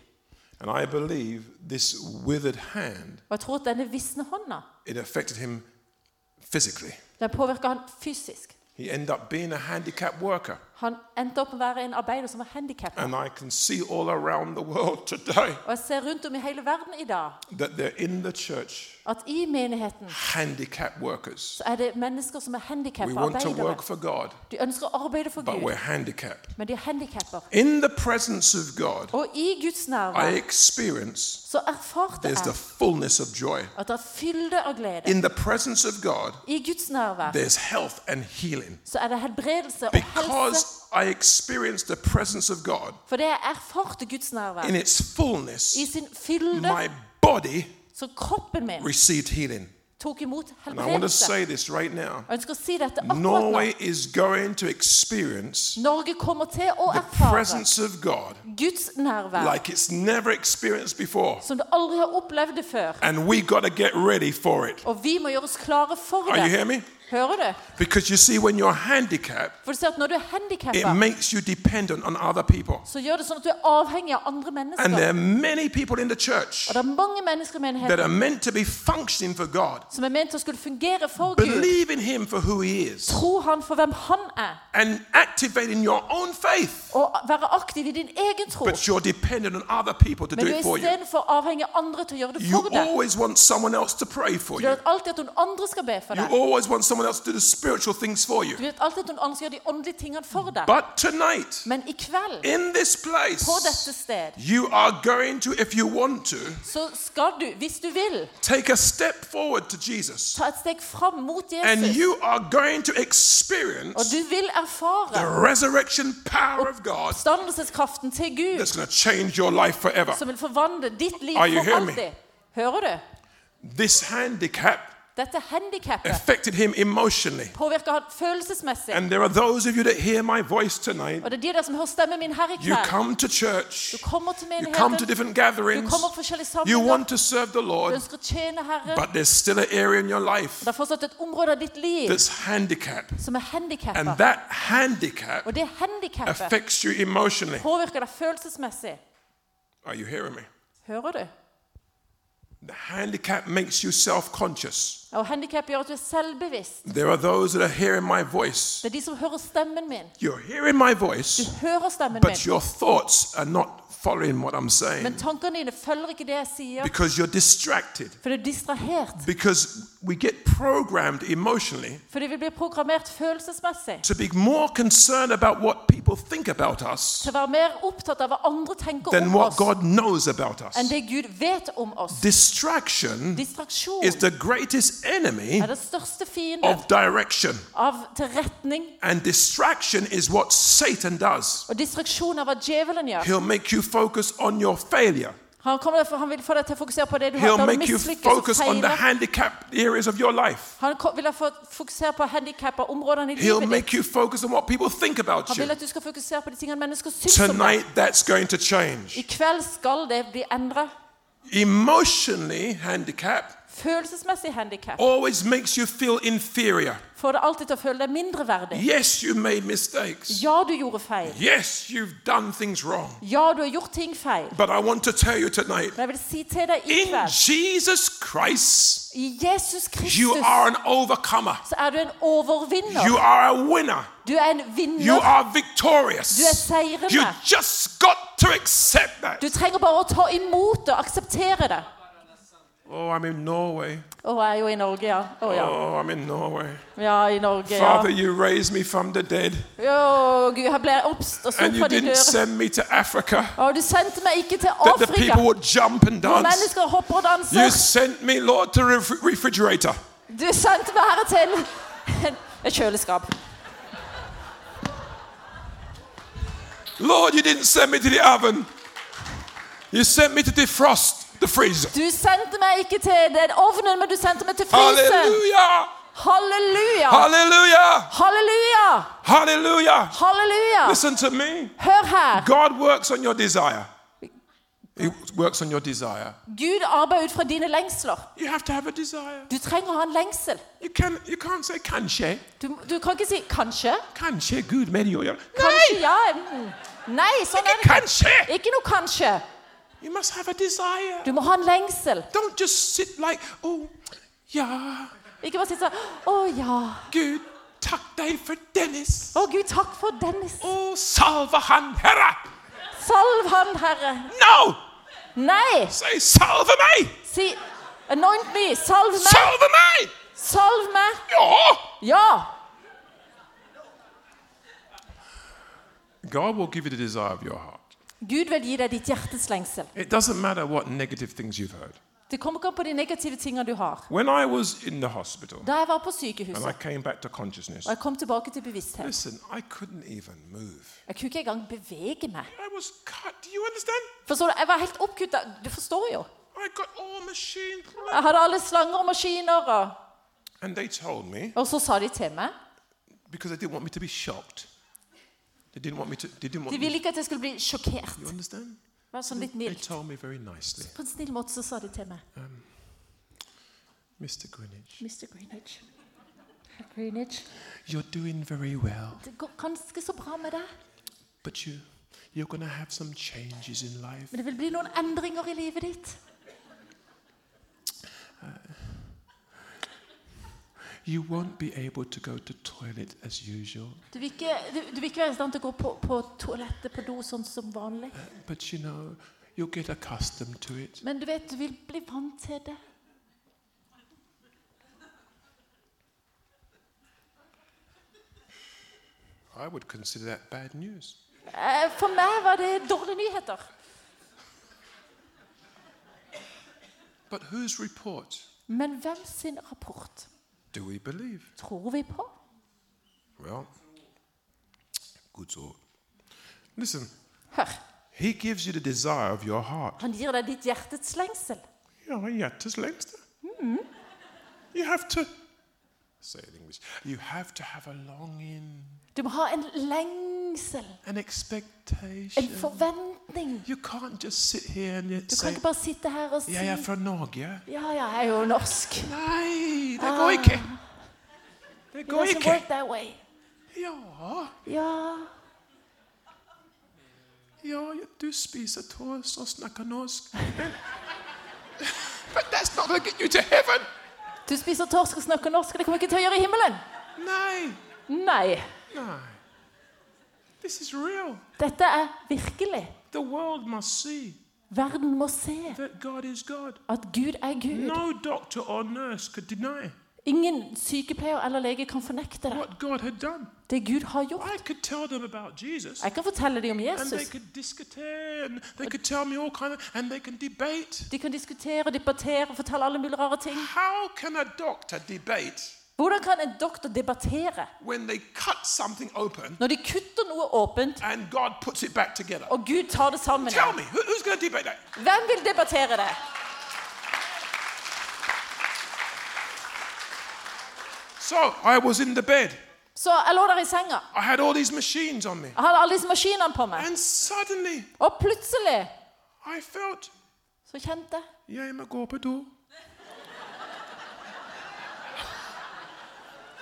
And I believe this withered hand,
Og jeg tror at denne visne hånda,
it affected him physically.
den påvirka han fysisk.
He ended up being a handicapped worker.
Han endte opp med å være en arbeider som var handikappa.
And I can see all around the world today
Og jeg ser rundt om i hele verden i dag
that they're in the church
at i menigheten
handicapped workers.
så er det mennesker som er
We
handikappa
want to
arbeidere.
work for God,
De ønsker å arbeide for
but
Gud,
we're handicapped.
men de er handikapper.
In the presence of God,
Og i Guds
I
nærvær
experience
så erfarte
there's the
jeg
fullness of joy.
at det er fylde av glede.
In the presence of God,
I Guds nærvær
there's health and healing.
så er det helbredelse og helse.
Because I experienced the presence of God
For det jeg erfarte Guds nærvær
in its
i
fullness,
sin fylde,
my body
så kroppen min
received healing.
tok imot
And I want to
helbredelse.
say this right now
Jeg ønsker å si dette akkurat nå.
Norway is going to experience
Norge kommer til å
the
erfare
presence of God
Guds nærvær
like it's never experienced before.
som du aldri har opplevd det før.
And we got to get ready for it.
Og vi må gjøre oss klare for
Are you
det.
hearing me?
Hører du?
Because you see, when you're handicapped,
For du ser at når du er
it
handikappa,
makes you dependent on other people.
så gjør det sånn at du er avhengig av andre
And
mennesker.
there are many people in the church
Og det er mange mennesker i
that
menigheten
are meant to be functioning for God,
som er ment til å skulle fungere for Gud.
believing Him for who He is,
Tro han for hvem han er,
and activating your own faith.
og være aktiv i din egen tro.
But you're dependent on other people to do
Men du er
it for you.
istedenfor avhengig av andre til å gjøre det
You
for deg.
always want someone else to pray for
Du
you.
vet alltid at noen andre skal be for
You
deg.
always want someone else to do the spiritual things for you.
Du vet alltid at noen andre skal gjøre de åndelige tingene for deg.
But tonight,
Men i kveld,
in this
på
place,
dette sted,
You are going to, if you want to,
så skal du, hvis du vil,
take a step forward to Jesus.
ta et steg fram mot
And
Jesus.
you are going to
Og
experience
du vil
the
erfare
resurrection power of God
oppstandelseskraften til Gud,
that's going to change your life forever.
som vil forvandle ditt liv
Are you
for
hearing me?
alltid. Hører du?
This handicap
Dette handikappet
affected him emotionally.
påvirker han følelsesmessig.
And there are those of you that hear my voice tonight.
Og det er de der som hører stemmen min her i
You
kveld.
come to
Du
church,
kommer til
you come to
menigheten,
different
du
gatherings,
kommer på forskjellige
you
samlinger,
want to serve the
du
Lord,
ønsker å tjene Herren.
but there's still an area in your life
Det er fortsatt et område av ditt liv
that's handicapped.
som er
And
handikappa.
that handicap
Og det handikappet
affects you emotionally.
påvirker deg følelsesmessig.
Are you hearing me?
Hører du?
The handicap makes you self conscious.
Og handikap gjør at du er selvbevisst.
There are those that are hearing my voice.
Det er de som hører stemmen min.
You're hearing my
Du
voice,
hører stemmen
but
min.
your thoughts are not following what I'm
Men
saying
tankene dine følger ikke det jeg sier,
because you're distracted.
for du er distrahert.
Because we get programmed emotionally
Fordi vi blir programmert følelsesmessig
to be more concerned about what people think about us
til å være mer opptatt av hva andre tenker
than
om
what
oss,
God knows about us.
enn det Gud vet om oss.
Distraction
Distraksjon
is the greatest enemy
er den største fienden
of direction,
av til retning.
and distraction is what Satan does.
Og distraksjon er hva djevelen gjør.
He'll make you focus on your failure.
Han, kommer, til- han vil få deg til å fokusere på det du har
He'll
da du
make you
mislykkes
focus
og
on the
feiler.
handicapped areas of your life.
Han ko- vil ha fått fokusere på handikappa områdene i
He'll
livet ditt.
make you focus on what people think about
Han
you.
vil at du skal fokusere på de tingene mennesker syns om deg.
Tonight, that's going to
I
change.
kveld skal det bli endret.
Emotionally handicapped
Følelsesmessig handikap
always makes you feel inferior.
får deg alltid til å føle deg mindreverdig.
Yes, you made mistakes.
Ja, du gjorde feil.
Yes, you've done things wrong.
Ja, du har gjort ting feil.
But I want to tell you tonight
Men jeg vil si til deg i
in
kveld
Jesus Christ,
I Jesus
you are an
Kristus
overcomer,
så er du en
you
overvinner.
are a winner,
Du er en
you
vinner.
are
Du er
victorious. You
seirende.
just got to accept that.
Du trenger bare å ta imot det og akseptere det.
Oh, I'm in Norway.
Å, jeg er jo i Norge, ja. Å ja.
Oh, I'm in Norway.
ja, i Norge, ja.
Oh. Father, you raised me from the dead,
Å, Gud, jeg ble oppst og
and
stått
you
fra de
didn't
døde.
send me to Africa
Å, du sendte meg ikke til
that the people
Afrika.
would jump and
Hvor
dance.
mennesker hopper og
You
danser.
sent me, Lord, to ref- refrigerator.
Du sendte meg her til et kjøleskap.
Lord, you didn't send me to the oven. You sent me to defrost the freezer.
Du sendte meg ikke til den ovnen, men du sendte meg til fryseren.
Hallelujah!
Halleluja!
Hallelujah!
Halleluja!
Hallelujah!
Halleluja!
Listen to me.
Hør her.
God works on your desire. He works on your desire.
Gud arbeider ut fra dine lengsler.
You have to have a desire.
Du trenger å ha en lengsel.
You can you can't say kanskje.
Du, du kan ikke si 'kanskje'.
Kanskje Gud med deg å gjøre.
Kanskje, ja. mm. Nei, sånn er det
Kanskje!
ikke. Ikke noe 'kanskje'.
You must have a desire.
Du må ha en lengsel.
Don't just sit like, oh, ja,
Ikke bare sitte sånn 'Å ja.
Gud, takk deg for Dennis. Oh,
Å Gud, takk for Dennis.
Å, salve han, Herre!
Salv han, Herre'.
No!
Nei,
Say, salve meg!
si 'anoint me'. Salv meg.
Salve meg!
Salv meg.
Ja!
Ja.
God will give you the desire of your heart.
Gud vil gi deg ditt hjertes lengsel.
It doesn't matter what negative things you've heard.
Det kommer ikke an på de negative tingene du har.
When I was in the hospital
Da jeg var på
and I
sykehuset
came back to consciousness,
og jeg kom tilbake til bevissthet
listen, I couldn't even move.
Jeg kunne ikke engang bevege meg.
I was cut. Do you understand?
Forstår du? Jeg var helt oppkutta. Du forstår jo.
I got all machine.
Jeg hadde alle slanger og maskiner. Og,
And they told me
og så sa de til meg
because they didn't want me to be shocked. They didn't want me to. They didn't
De
want. Me,
ville ikke at jeg skulle bli sjokkert.
you understand?
Det var sånn litt
They
mildt.
told me very nicely,
På en snill måte så sa de til meg
Mr. Greenwich.
Mr. Greenwich. Herr Greenwich.
You're doing very well,
Det går ganske så bra med deg,
but you, you're gonna have some changes in life.
men det vil bli noen endringer i livet ditt.
You won't be able to go to toilet as usual.
Du vil ikke, du, du vil ikke være i stand til å gå på, på toalettet på do sånn som vanlig.
But you know, you'll get accustomed to it.
Men du vet, du vil bli vant til det.
I would consider that bad news.
Eh, For meg var det dårlige nyheter.
But whose report
Men hvem sin rapport
do we believe?
tror vi på?
Well, good thought. Listen,
Hør,
he gives you the desire of your heart.
han gir deg ditt hjertets lengsel.
Ja, hjärtats längsta. You have to say it in English. You have to have a longing,
Du må ha en lengsel,
an
en
expectation.
forventning.
You can't just sit here and
Du kan
say,
ikke bare sitte her og si
"Ja,
Ja,
jag
ja,
är från Norge."
jeg er jo norsk.
Nei, det går ikke. Det
It
går
doesn't
ikke.
work that way.
Ja,
Ja,
ja, du spiser toast og snakker norsk. Men- But that's not going to get you to heaven.
du spiser torsk og snakker norsk, og det kommer ikke til å gjøre i himmelen.
Nei,
Nei,
nei. This is real.
dette er virkelig.
The world must see
Verden må se
that God is God.
at Gud er Gud.
No doctor or nurse could deny
Ingen sykepleier eller lege kan fornekte det.
what God had done.
Det Gud har gjort.
I could tell them about Jesus.
Jeg kan fortelle dem om
And they
Jesus.
could discourse, and they could tell me all kind of, and they can debate.
De kan diskutere og debattere og fortelle alle mulige rare ting.
How can a doctor debate
Hvordan kan en doktor debattere
when they cut something open
når de kutter noe åpent,
and God puts it back together.
og Gud tar det sammen?
Tell me, who, who's going to debate that?
Hvem vil debattere det?
So I was in the bed.
Så jeg lå der i senga.
I had all these machines on me.
Jeg hadde alle disse maskinene på meg.
And suddenly
Og plutselig
I felt,
så kjente jeg
jeg må gå på do.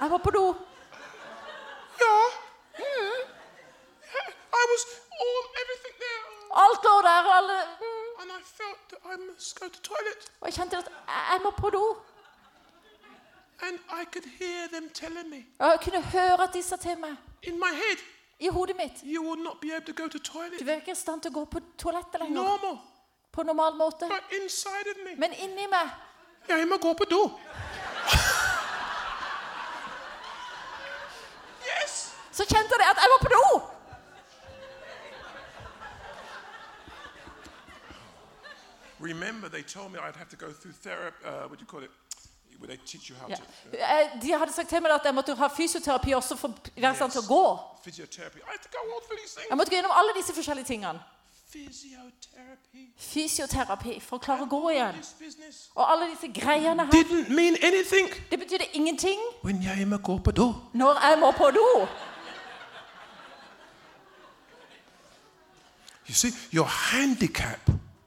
Jeg må på do.
Yeah. Yeah. yeah. I was all everything there,
Alt lå der, og alle mm.
and I felt that I must go to toilet.
Og jeg kjente at jeg jeg må på do.
And I could hear them telling me
Og jeg kunne høre at de sa til meg
in my head,
i hodet mitt
you will not be able to go to
Du
toilet
er ikke i stand til å gå på toalettet lenger.
normal.
På normal måte.
But inside of me,
Men inni meg
yeah, I'm a go up a door. yes.
så kjente jeg at jeg må på do!
Remember, they told me I'd have to go through therapy. Uh, what do you call it? Would they teach you how
Ja.
to?
Jeg- Eh, De hadde sagt til meg at jeg måtte ha fysioterapi også for å være i stand til å gå.
uh, Physiotherapy. I had to go all through these things.
Jeg måtte gå gjennom alle disse forskjellige tingene.
Physiotherapy.
Fysioterapi for å klare å gå igjen.
This business
Og alle disse greiene her.
didn't mean anything
Det betydde ingenting
when Yaima går på do.
når jeg må på do.
You see, your handicap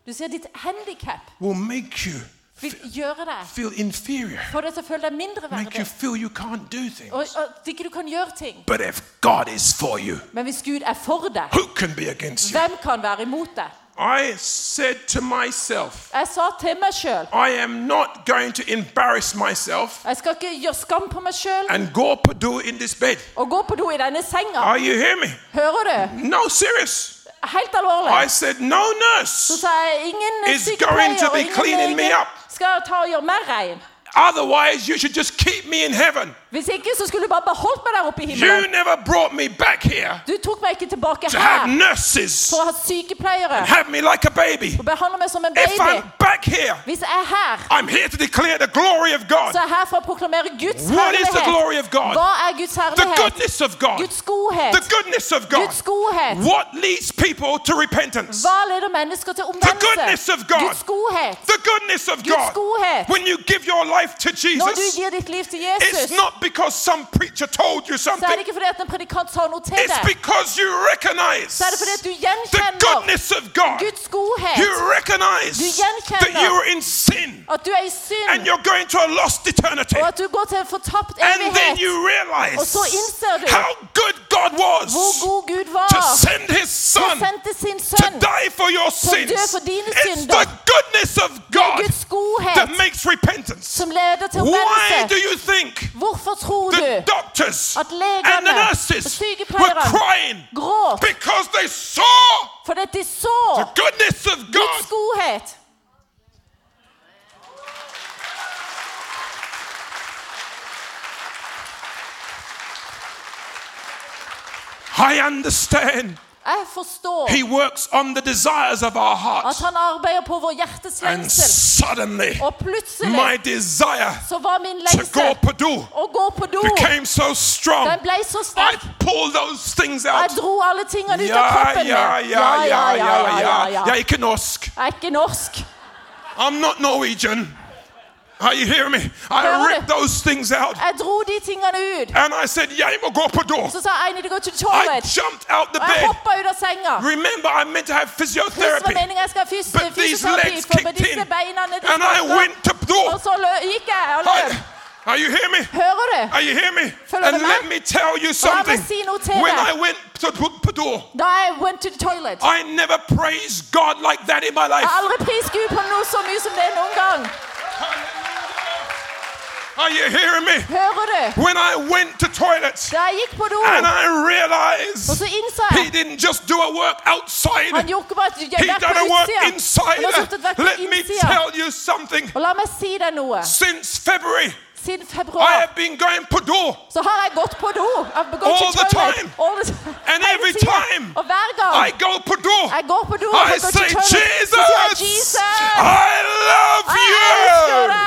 Du ser ditt handikap
will make you
vil gjøre deg
feel inferior,
Få deg til å føle deg
make you
mindreverdig.
feel you can't do things.
Og og at ikke du kan gjøre ting.
But if God is for you,
Men hvis Gud er for deg,
who can be against you?
hvem kan være imot deg?
I said to myself,
Jeg sa til meg sjøl
I am not going to embarrass myself
jeg skal ikke gjøre skam på meg sjøl
and go på do in this bed.
og gå på do i denne senga.
Are you hearing me?
Hører du?
No, serious.
Helt
I
alvorlig.
said, no
Så
nurse.
sa jeg ingen
It's going to
sykepleier og
be cleaning
ingen
me
lege
up.
skal ta og gjøre meg rein.
Otherwise, you should just keep me in heaven.
Hvis ikke så skulle du bare beholdt meg der oppe i
You
himmelen.
never brought me back here
Du tok meg ikke tilbake
to have
her
nurses
for å ha sykepleiere
have me like a baby.
og behandle meg som en
If
uh, baby.
I'm back here,
Hvis jeg er her,
I'm here to declare the glory of God,
så er jeg her for å proklamere Guds
What is the glory of
herlighet.
God?
Hva er Guds
the
herlighet?
goodness of God,
Guds
the
godhet.
goodness of God.
Guds godhet.
What leads people to repentance?
Hva leder mennesker til
goodness
omvendelse?
of God.
Guds godhet.
The goodness of
Guds
God.
godhet.
When you give your life to
Når du
Jesus,
gir ditt liv til
it's
Jesus,
not because some preacher told you
så er det
something,
ikke fordi at en predikant sa noe til
it's
deg.
because you recognize
Så er det fordi at du
the
gjenkjenner
goodness of God.
Guds godhet.
You recognize
Du gjenkjenner.
that you were in sin
At du er i
and
synd,
you're going to a lost eternity.
og at du går til en fortapt
And then
evighet.
you
Og så
realize
innser du
how good God
hvor
was
god Gud var.
to send his
Han
son
sendte sin
to
sønn.
die for your sins.
dø for dine
It's
synder.
the goodness of God
Guds godhet
that makes repentance.
som leder til
Why do
omvendelse.
you think
Hvorfor tror du
the doctors
at
and the
legene og
nurses were crying
sykepleierne gråt
because they saw
fordi at de så
the goodness of God?
Guds godhet?
I understand
Jeg forstår
he works on the desires of our
at
hearts.
han arbeider på vår hjertes
And
lengsel.
suddenly,
Og plutselig
my desire
så var min
to go
lengsel
Purdue
å gå på do.
became so strong.
Den ble så
I
sterk.
pulled those things
Jeg
out.
dro alle tingene ut av
Ja,
kroppen min.
ja, ja, ja, ja, ja. Jeg er
Jeg
ikke norsk.
er ikke norsk.
I'm not Norwegian. Are you hearing me?
Hører
I
du?
ripped those things out
Jeg dro de tingene ut.
and I said, Jeg må gå på do.
Så sa jeg Eini, det går til
I
toilet.
jumped out the
Og jeg
bed.
hoppa ut av senga.
Remember, I meant to have
Hvis det var
physiotherapy
meningen jeg skal ha fys-
But these
fysioterapi,
legs
for med
kicked
disse
in.
beina nedi
and I went to
Og
do.
så lø- gikk jeg og løp.
I- Are you hearing me?
Hører du?
Are you hearing me?
Følger
And
du
let
meg?
me tell you
la meg
something.
si noe til
When
deg.
I went to Purdue,
Da jeg went to the toilet.
I never praised God like that in my life.
Jeg har aldri prist Gud på noe så mye som det noen gang.
Are you hearing me?
Hører du?
When I went to toilets
Da jeg gikk på do,
and I
og
realized
så innså
he
jeg
didn't just do a work
Han
outside,
gjorde ikke bare et
he
verk på
done a work
utsida.
inside.
Han har gjort et verk på
Let me
innsida.
tell you something.
Og la meg si deg noe.
Since February,
Siden
I
februar
have been going Purdue.
så har jeg gått på do. Jeg har gått
All
til
the
toilet
time.
all the time.
And
Hele
every
tiden.
time.
Og hver gang
I go Purdue.
jeg går på do og
I
går til
say,
toilet, så sier jeg
Jesus,
Jesus! Jeg
I
elsker
love you.
deg!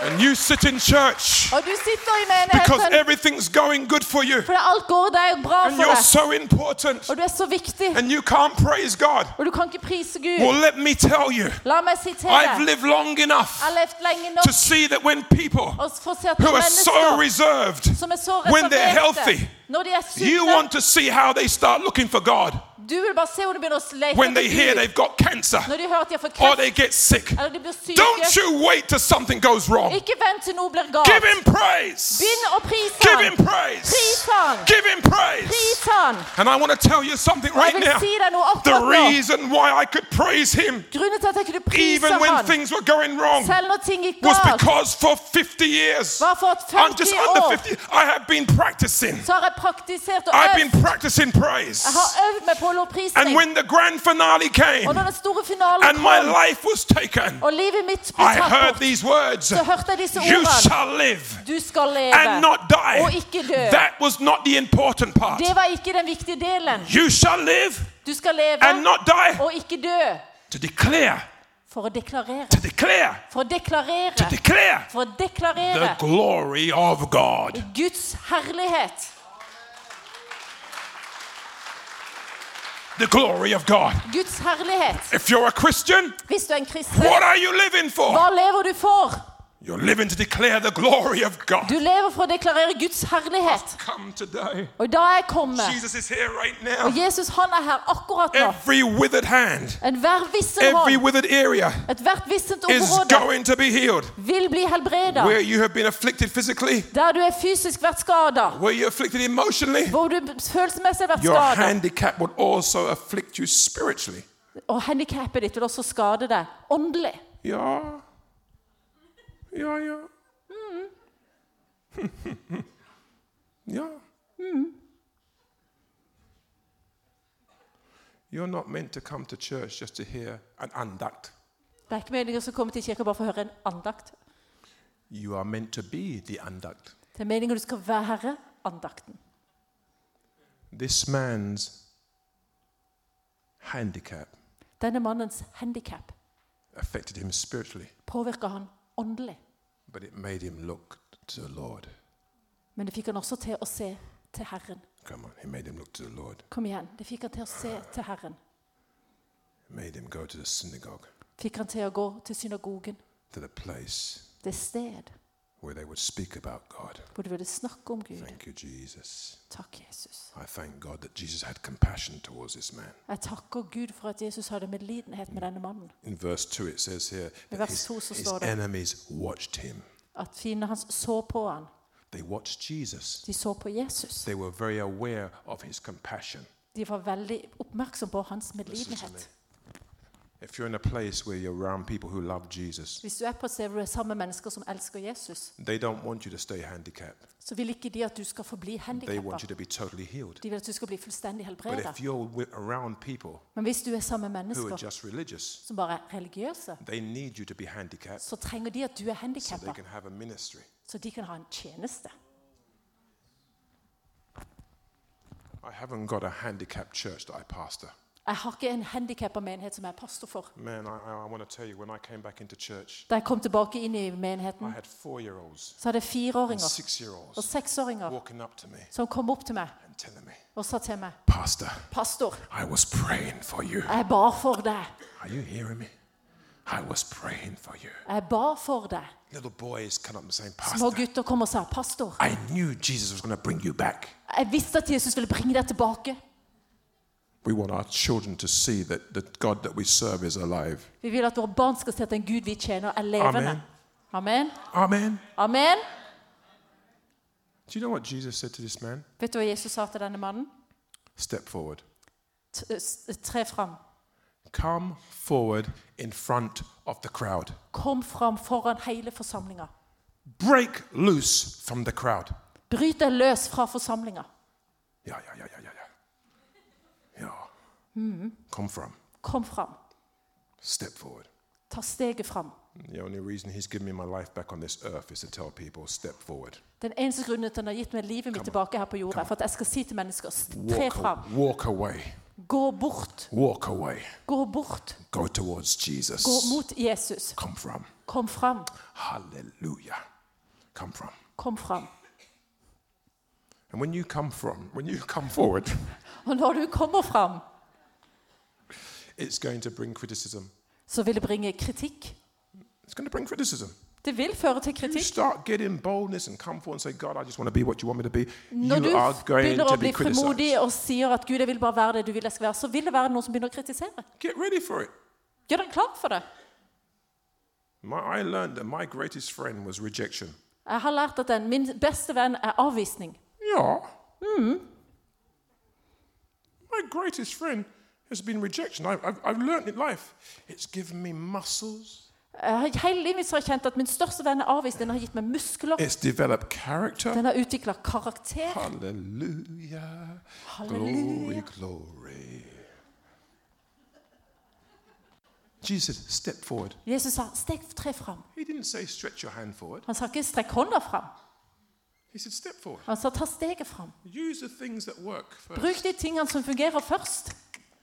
And you sit in church
Og du sitter i
because
menigheten
everything's going good for you.
fordi alt går deg bra
And
for
you're
deg.
so important.
Og du er så viktig.
And you can't praise God.
Og du kan ikke prise Gud.
Well, let me tell you,
La meg si til
I've
deg.
lived long
Jeg har
enough
levd lenge
to
nok
see that when people
og for å se at
who are so
mennesker
reserved,
som er så
when they're
reserverte
healthy,
Når de er
you want
sunne,
to see how they start looking for God.
Du vil bare se hvor du begynner å lete
when they
etter
hear
Gud.
they've got cancer
Når de hører at de har fått
or
kreft,
they get sick.
eller de blir syke
Don't you wait till something goes wrong.
Ikke vent til noe blir galt.
Give him praise.
Begynn å prise
Give him
han.
praise.
Pris han.
Give him praise.
Pris han.
And I want to tell you something right
Jeg vil
now.
si deg noe
The
akkurat nå.
reason why I could praise him
Grunnen til at jeg kunne prise
even when
han,
things were going wrong
selv når ting gikk
was
galt,
because for 50 years,
var for
I'm just
50
under
år
50, I have been practicing.
så har jeg praktisert og
I've been
øvd.
practicing praise.
Jeg har øvd meg på
And
lovprisning.
when the grand finale came
Og når den store finalen
and my
kom,
life was taken,
og livet mitt ble
I
tatt
heard
bort,
these words
så hørte jeg disse
You
ordene.
shall live
Du skal
and
leve.
not die.
og ikke dø.
That was not the important part.
Det var ikke den viktige delen.
You shall live
Du skal leve
and not die.
og ikke dø.
To declare,
For å deklarere.
to declare,
For å
to
deklarere.
declare
For å
the
deklarere
glory of God.
Guds herlighet.
The glory of God.
Guds herlighet.
If you're a Christian,
Hvis du er en kristen,
what are you living for?
hva lever du for?
You're living to declare the glory of God.
Du lever for å deklarere Guds herlighet.
Come today.
Og da er jeg kommet.
Jesus is here right
Og
now.
Jesus han er her akkurat nå.
Every withered hand,
Enhver vissen
every
hånd,
withered area
ethvert vissent
is
område
going to be healed.
vil bli helbreda.
Where you have been afflicted physically,
Der du er fysisk vært skada,
where you're afflicted emotionally,
hvor du følelsesmessig har vært
your
skada,
handicap would also afflict you spiritually.
og handikappet ditt vil også skade deg åndelig.
Ja. Ja, ja. ja. You're not meant to come to church just to hear an andacht.
Det er ikke meningen å komme til kirka bare for å høre en andakt.
You are meant to be the andacht.
Det er meningen du skal være andakten.
This man's handicap
Denne mannens handikap
affected him spiritually,
påvirka han åndelig,
But it made him look to the Lord.
men det fikk han også til å se til Herren.
Come on, it made him look to the Lord.
Kom igjen. Det fikk han til å se til Herren.
It made him go to the synagogue,
Fikk han til å gå til synagogen,
to the place
det sted
where they would speak about God.
hvor du ville snakke om Gud.
Thank you, Jesus.
Takk, Jesus.
I thank God that Jesus had compassion towards this man.
Jeg takker Gud for at Jesus hadde medlidenhet med denne mannen.
In verse 2, it says here
I
that
vers
his,
to så
his
står det.
enemies watched him.
At fiendene hans så på han.
They watched Jesus.
De så på Jesus.
They were very aware of his compassion.
De var veldig oppmerksom på hans medlidenhet.
If you're in a place where you're around people who love Jesus,
Hvis du er på et sted hvor det er samme mennesker som elsker Jesus,
they don't want you to stay handicapped.
så vil ikke de at du skal forbli
They want
handikappa.
you to be totally healed.
De vil at du skal bli
But
fullstendig helbreda.
if you're wi- around people
Men hvis du er samme
who are
mennesker
just religious,
som bare er religiøse,
they need you to be handicapped
så trenger de at du er
so they
handikappa,
can have a ministry.
så de kan ha en tjeneste.
I haven't got a handicapped church that I pastor.
Jeg har ikke en handikappa menighet som jeg er pastor for.
Man, I, I- I want to tell you, when I came back into church,
Da jeg kom tilbake inn i
I
menigheten,
had four year olds
så hadde
and
jeg fireåringer
six year
og
olds
seksåringer
walking up to me
som kom opp til meg
and telling me,
og sa til meg
Pastor,
Pastor,
I was praying for you.
jeg ba for deg.
Are you hearing me? I was praying for you.
Jeg ba for deg.
Little boys come up and say,
Små
Pastor,
gutter kom og sa, 'Pastor,
I knew Jesus was going to bring you back.
jeg visste at Jesus ville bringe deg tilbake.'
We want our children to see that the God that we serve is alive.
Vi vil at våre barn skal se at den Gud vi tjener, er levende. Amen.
Amen.
Amen.
Do you know what Jesus said to this man?
Vet du hva Jesus sa til denne mannen?
Step forward.
T- s- Tre fram.
Come forward in front of the crowd.
Kom fram foran hele forsamlinga.
Break loose from the crowd.
Bryt deg løs fra forsamlinga.
Yeah, yeah, yeah, yeah, yeah, yeah. Yeah. Come from.
Kom fram.
Step forward.
Ta steget fram.
The only reason he's given me my life back on this earth is to tell people, step forward.
Den eneste grunnen til at han har gitt meg livet mitt tilbake her på jorda, er for at jeg skal si til mennesker s- Tre
Walk,
fram.
a- walk away.
Gå bort.
Walk away.
Gå bort.
Go towards
Gå
Jesus.
mot Jesus.
Come from.
Kom fram.
Hallelujah. Come from.
Kom fram.
And when you come from, when you come forward,
Og når du kommer fram,
it's going to bring criticism.
så vil det bringe kritikk.
It's going to bring criticism.
Det vil føre til
You
kritikk.
start getting boldness and come forward and say, God, I just want to be what you want me to be.
Når du
You are going
begynner
to
å
be
bli
criticized.
frimodig og sier at 'Gud, jeg vil bare være det du vil jeg skal være', så vil det være noen som begynner å kritisere.
Get ready for it.
Gjør deg klar for det.
My, I learned that my greatest friend was rejection.
Jeg har lært at den, min beste venn er avvisning.
Yeah. My greatest friend has been rejection. I, I've, I've learned in life. It's given me muscles.
Jeg har hele livet mitt så har jeg kjent at min største venn er avvist. Den har gitt meg muskler.
It's developed character.
Den har utvikla karakter.
Hallelujah. Glory,
Halleluja.
glory. Jesus said, step forward.
Jesus sa 'stek tre fram'.
He didn't say stretch your hand forward.
Han sa ikke 'strekk hånda fram'.
He said, step forward.
Han sa 'ta steget fram'.
Use the things that work first.
Bruk de tingene som fungerer først.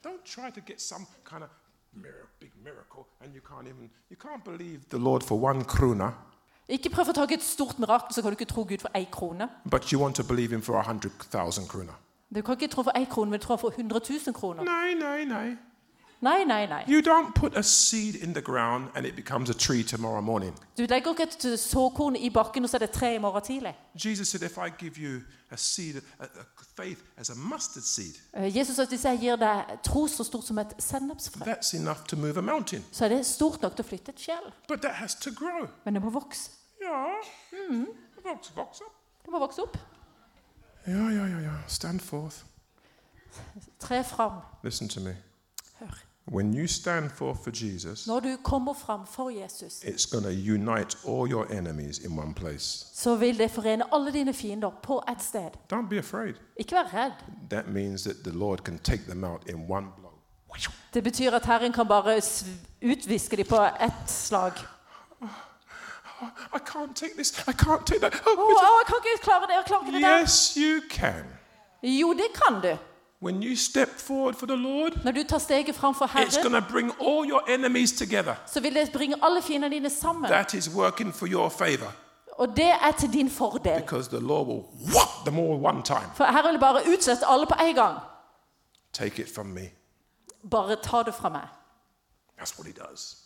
Don't try to get some kind of mir- big miracle and you can't even, you can't believe the Lord for one krona,
Ikke prøv å ta et stort mirakel, så kan du ikke tro Gud for én krone.
but you want to believe Him for a hundred thousand krona.
Du kan ikke tro for én krone, men du tror for 100 000 kroner.
No, no, no.
Nei, nei, nei.
You don't put a seed in the ground and it becomes a tree tomorrow morning.
Du legger ikke et såkorn i bakken, og så er det tre i morgen tidlig.
Jesus said, if I give you a seed, a, a faith as a mustard seed,
Eh, Jesus sa at hvis jeg gir deg tro så stort som et sennepsfrø,
that's enough to move a mountain.
så er det stort nok til å flytte et skjell.
But that has to grow.
Men det må vokse.
Yeah. hmm. Box, box up.
Det må vokse opp.
Yeah, yeah, yeah, yeah. Stand forth.
Tre fram.
Listen to me.
Hør.
When you stand forth for Jesus,
Når du kommer fram for Jesus,
it's going to unite all your enemies in one place.
så vil det forene alle dine fiender på ett sted.
Don't be afraid.
Ikke vær redd.
That means that the Lord can take them out in one blow.
Det betyr at Herren kan bare sv- utviske dem på ett slag.
I can't take this. I can't take that. Oh,
Å, å, jeg kan ikke klare det, jeg klarer ikke det der.
yes, you can.
Jo, det kan du.
When you step forward for the Lord,
Når du tar steget fram for
it's
Herren,
going to bring all your enemies together.
så vil det bringe alle fiendene dine sammen.
That is working for your favor
Og det er til din fordel.
because the Lord will whop them all one time.
For Herren vil bare utsette alle på en gang.
Take it from me.
Bare ta det fra meg.
That's what He does.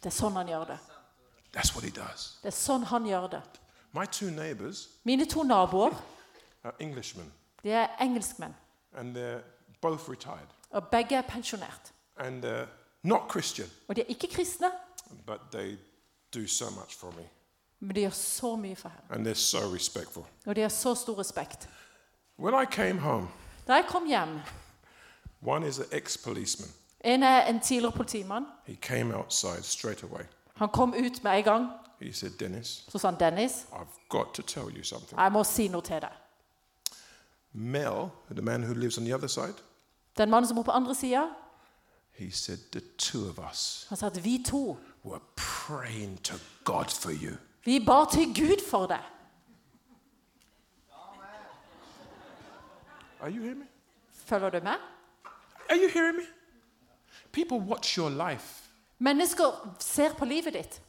Det er sånn han gjør det.
That's what He does.
Det er sånn han gjør det.
My two neighbors
Mine to naboer,
are Englishmen,
de er engelskmenn.
and they're both retired.
Og begge er pensjonert.
and uh, not Christian,
Og de er ikke kristne,
but they do so much for me,
men de gjør så mye for Herren.
and they're so respectful.
Og de har så stor respekt.
When I came home,
Da jeg kom hjem,
one is an ex-policeman.
en er en tidligere politimann.
He came outside straight away.
Han kom ut med en gang.
He said, "Dennis,
Så sa han, 'Dennis,
I've got to tell you something.
jeg må si noe til deg.'
Mel, the man who lives on the other side,
Den mannen som bor på andre sida,
he said the two of us
han sa at 'vi to,
were praying to God for you."
vi ba til Gud for deg'.
Are you hearing me?
Følger du med?
Are you hearing me? People watch your life.
Mennesker ser på livet ditt.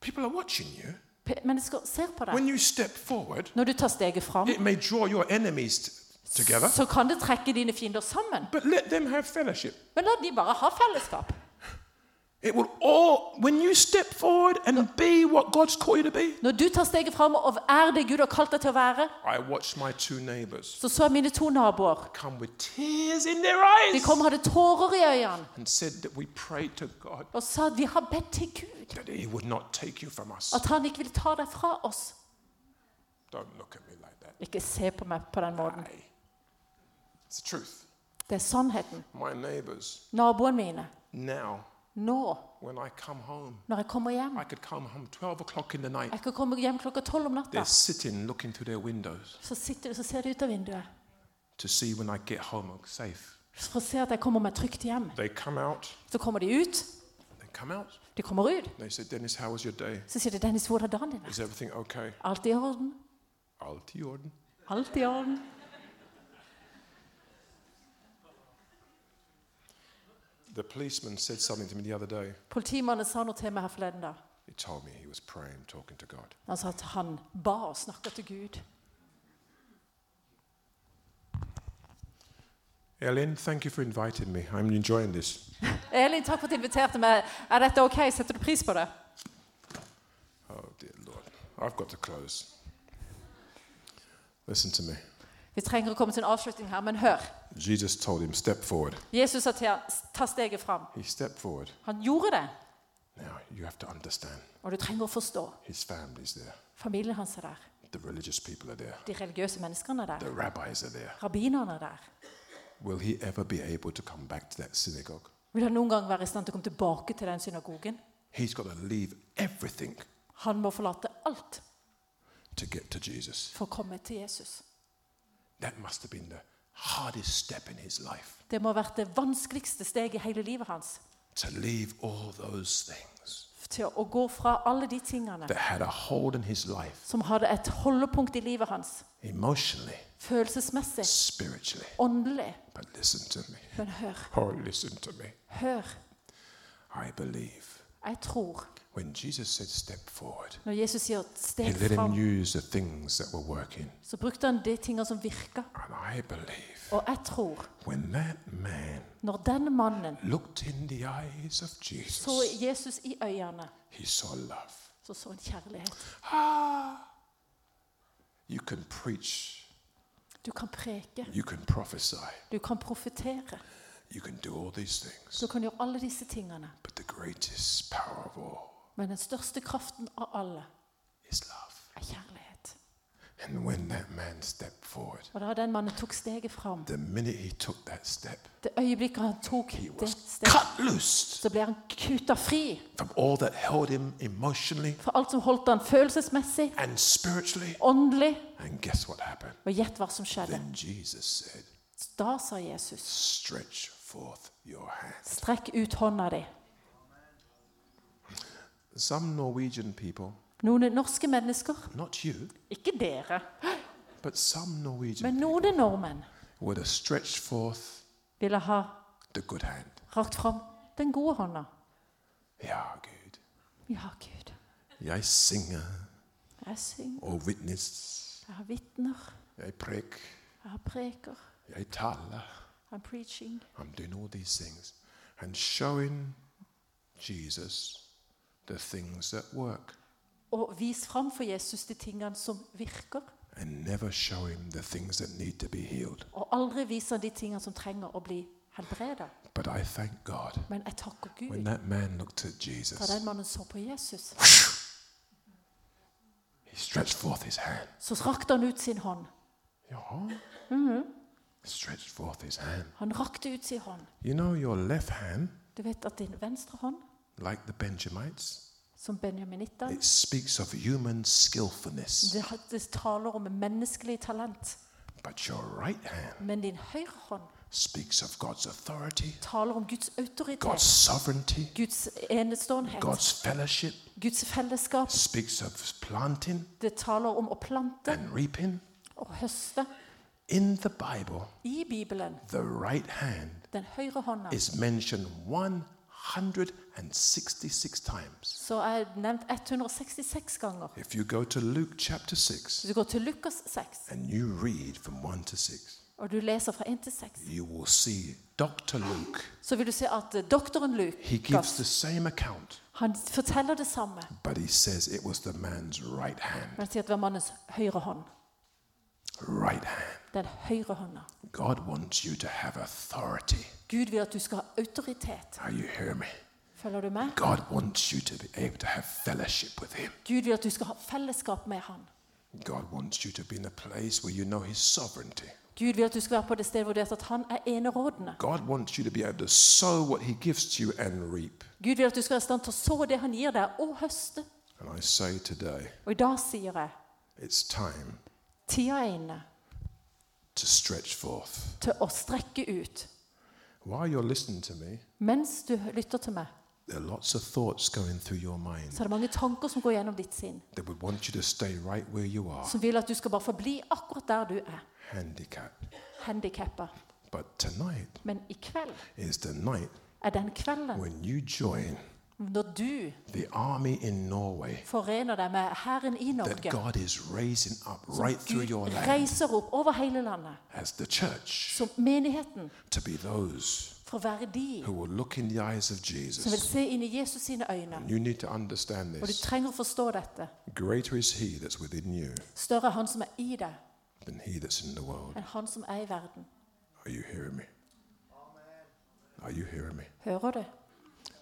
People are watching you.
P- Mennesker ser på deg.
When you step forward,
Når du tar steget fram,
it may draw your enemies t- together.
så kan det trekke dine fiender sammen.
But let them have fellowship.
Men la de bare ha fellesskap.
It will all, when you step forward and be what God's called you to be.
Når du tar steget fram og er det Gud har kalt deg til å være,
I watched my two neighbors
så så jeg mine to naboer.
come with tears in their
De
eyes
kom og hadde tårer i øynene
and said that we prayed to God
og sa at 'vi har bedt til Gud
that He would not take you from us.
at han ikke vil ta deg fra oss'.
Don't look at me like that.
Ikke se på meg på den måten.
Aye. It's the truth.
Det er sannheten.
My neighbors,
Naboene mine,
now,
nå,
when I come home,
når jeg kommer hjem
I could come home 12 o'clock in the night.
Jeg kan komme hjem klokka tolv om natta.
They're sitting looking through their windows
Så, sitter, så ser de ut av vinduet
to see when I get home I'm safe.
for å se at jeg kommer meg trygt hjem.
They come out,
Så kommer de ut.
they come out.
De kommer ut.
They said, Dennis, how was your day?
Så sier de 'Dennis, hvordan er dagen din?'
Is everything okay?
Alt i orden.
Alt i orden.
Alt i orden.
The policeman said something to me the other day.
Politimannen sa noe til meg her forleden da.
He told me he was praying, talking to God.
Han sa at han ba og snakka til Gud.
Ellen, thank you for inviting me. I'm enjoying this.
Elin, takk for at du inviterte meg. Er dette ok? Setter du pris på det?
Oh,
I've got to close.
Listen to me.
Vi trenger å komme til en avslutning her, men hør.
Jesus told him, Step forward.
Jesus sa til ham, ta steget fram.
He stepped forward.
Han gjorde det,
Now, you have to understand
og du trenger å forstå.
his family's there,
Familien hans er der.
the religious people are there,
De religiøse menneskene er der.
the rabbis are there.
Rabbinerne er der.
Will he ever be able to come back to that synagogue?
Vil han noen gang være i stand til å komme tilbake til den synagogen?
He's got to leave everything
Han må forlate alt
to get to Jesus.
for å komme til Jesus.
That must have been the hardest step in his life
Det må ha vært det vanskeligste steget i hele livet hans.
to leave all those things
Til å gå fra alle de tingene
that had a hold on his life
som hadde et holdepunkt i livet hans.
emotionally,
Følelsesmessig,
spiritually.
åndelig.
But listen to me.
Men hør,
Oh, listen to me.
hør.
I believe
Jeg tror
when Jesus said, Step forward,
når Jesus sier
he
steg
let him
fram,
use the things that were working.
så brukte han de tingene som virka.
And I believe
Og jeg tror
when that man
når den mannen
looked in the eyes of
så
Jesus,
Jesus i øynene,
he saw love.
så så han kjærlighet.
Ah! You can preach,
Du kan preke,
you can prophesy,
du kan profetere.
you can do all these things.
Du kan gjøre alle disse tingene.
But the greatest power of all
Men den største kraften av alle
is love.
er kjærlighet.
And when that man stepped forward,
Og da den mannen tok steget fram,
the minute he took that step,
det øyeblikket han tok
he
det
was
steget,
cut loose
så ble han kutta fri
from all that held him emotionally
fra alt som holdt han følelsesmessig,
and spiritually.
åndelig.
And guess what happened?
Og gjett hva som skjedde.
Then Jesus said,
Da sa Jesus,
Stretch forth your hand.
strekk ut hånda di.
Some Norwegian people,
Noen norske mennesker,
not you,
ikke dere,
but some Norwegian
men
people
noen nordmenn,
would have stretched forth
ville ha
the good hand.
rakt fram den gode hånda.
Ja, Gud.
Ja, Gud,
Jeg synger
jeg synger,
og vitnes.
jeg har vitner,
Jeg prek.
jeg har preker,
Jeg taler.
I'm preaching.
I'm doing all these things. And showing Jesus the things that work.
Og vis fram for Jesus de tingene som virker,
And never show him the things that need to be healed.
og aldri vis han de tingene som trenger å bli helbreda.
But I thank God.
Men jeg takker
When
Gud
that man looked at
da
Jesus,
den mannen så på Jesus.
he stretched forth his hand.
Så rakte han ut sin hånd.
Ja. Stretched forth his hand.
Han rakte ut sin hånd.
You know, your left hand,
Du vet at din venstre hånd,
like the Benjamites,
som benjaminitter,
it speaks of human skillfulness.
det, det taler om menneskelig talent.
But your right hand
Men din høyre hånd
speaks of God's authority,
taler om Guds
God's
autoritet,
sovereignty,
Guds eneståenhet,
God's fellowship,
Guds fellesskap.
speaks of planting
Det taler om å plante
and reaping.
og høste.
In the Bible,
I Bibelen,
the right hand
den høyre hånda,
is mentioned 166 times.
så er nevnt 166 ganger.
If you go to Luke chapter 6,
Så du går til Lukas 6,
and you read from 1 to 6,
og du leser fra 1 til 6,
you will see Dr. Luke,
så vil du se at eh, doktoren
he gives the
Lukas
same account,
han forteller det samme,
but he says it was the man's right
men
hand.
han sier at det var mannens høyre hånd.
Right hand.
Den høyre hånda.
God wants you to have authority.
Gud vil at du skal ha autoritet.
Are you hear me?
Følger du med?
God wants you to be able to have fellowship with him.
Gud vil at du skal ha fellesskap med han.
God wants you to be in a place where you know his sovereignty.
Gud vil at du skal være på det stedet hvor du vet at han er enerådende.
God wants you to be able to sow what he gives to you and reap.
Gud vil at du skal være i stand til å så det han gir deg, og høste.
And I say today,
Og i dag sier jeg
it's time
tida er inne
to stretch forth.
til å strekke ut.
While you're listening to me,
Mens du lytter til meg,
There are lots of thoughts going through your mind
så er det mange tanker som går gjennom ditt sinn,
that would want you to stay right where you are,
som vil at du skal bare forbli akkurat der du er.
handicapped.
Handikappa.
But tonight
Men i kveld
is the night
er den kvelden
when you join
når du
the army in Norway
forener deg med hæren i
that
Norge.
God is raising up right through
Gud
your land
reiser opp over hele landet
as the church
som menigheten
to be those
for å være de
who will look in the eyes of
som vil
Jesus.
se inn i Jesus sine øyne.
You need to understand
Og du
this.
trenger å forstå dette.
Greater is He that's within you
Større er Han som er i deg,
than He that's in the world.
enn Han som er i verden.
Are you hearing me? Are you hearing me?
Hører du?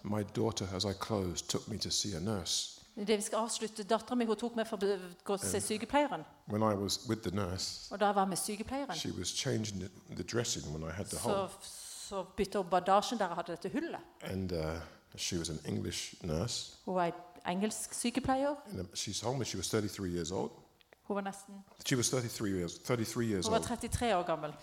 My daughter, as I closed, took me to see a nurse.
Det vi skal avslutte, Dattera mi tok meg for å gå og
Eh.
se sykepleieren.
When I was with the nurse,
Og da jeg var med sykepleieren,
she was changing the, the dressing when I had the
så,
hole.
så bytta hun bandasjen der jeg hadde dette hullet.
And uh, she was an English nurse.
Hun var ei engelsk sykepleier.
And um, she told me she was 33 years old.
Hun var nesten
She was 33 years, 33 years
Hun var
old.
33 år gammel.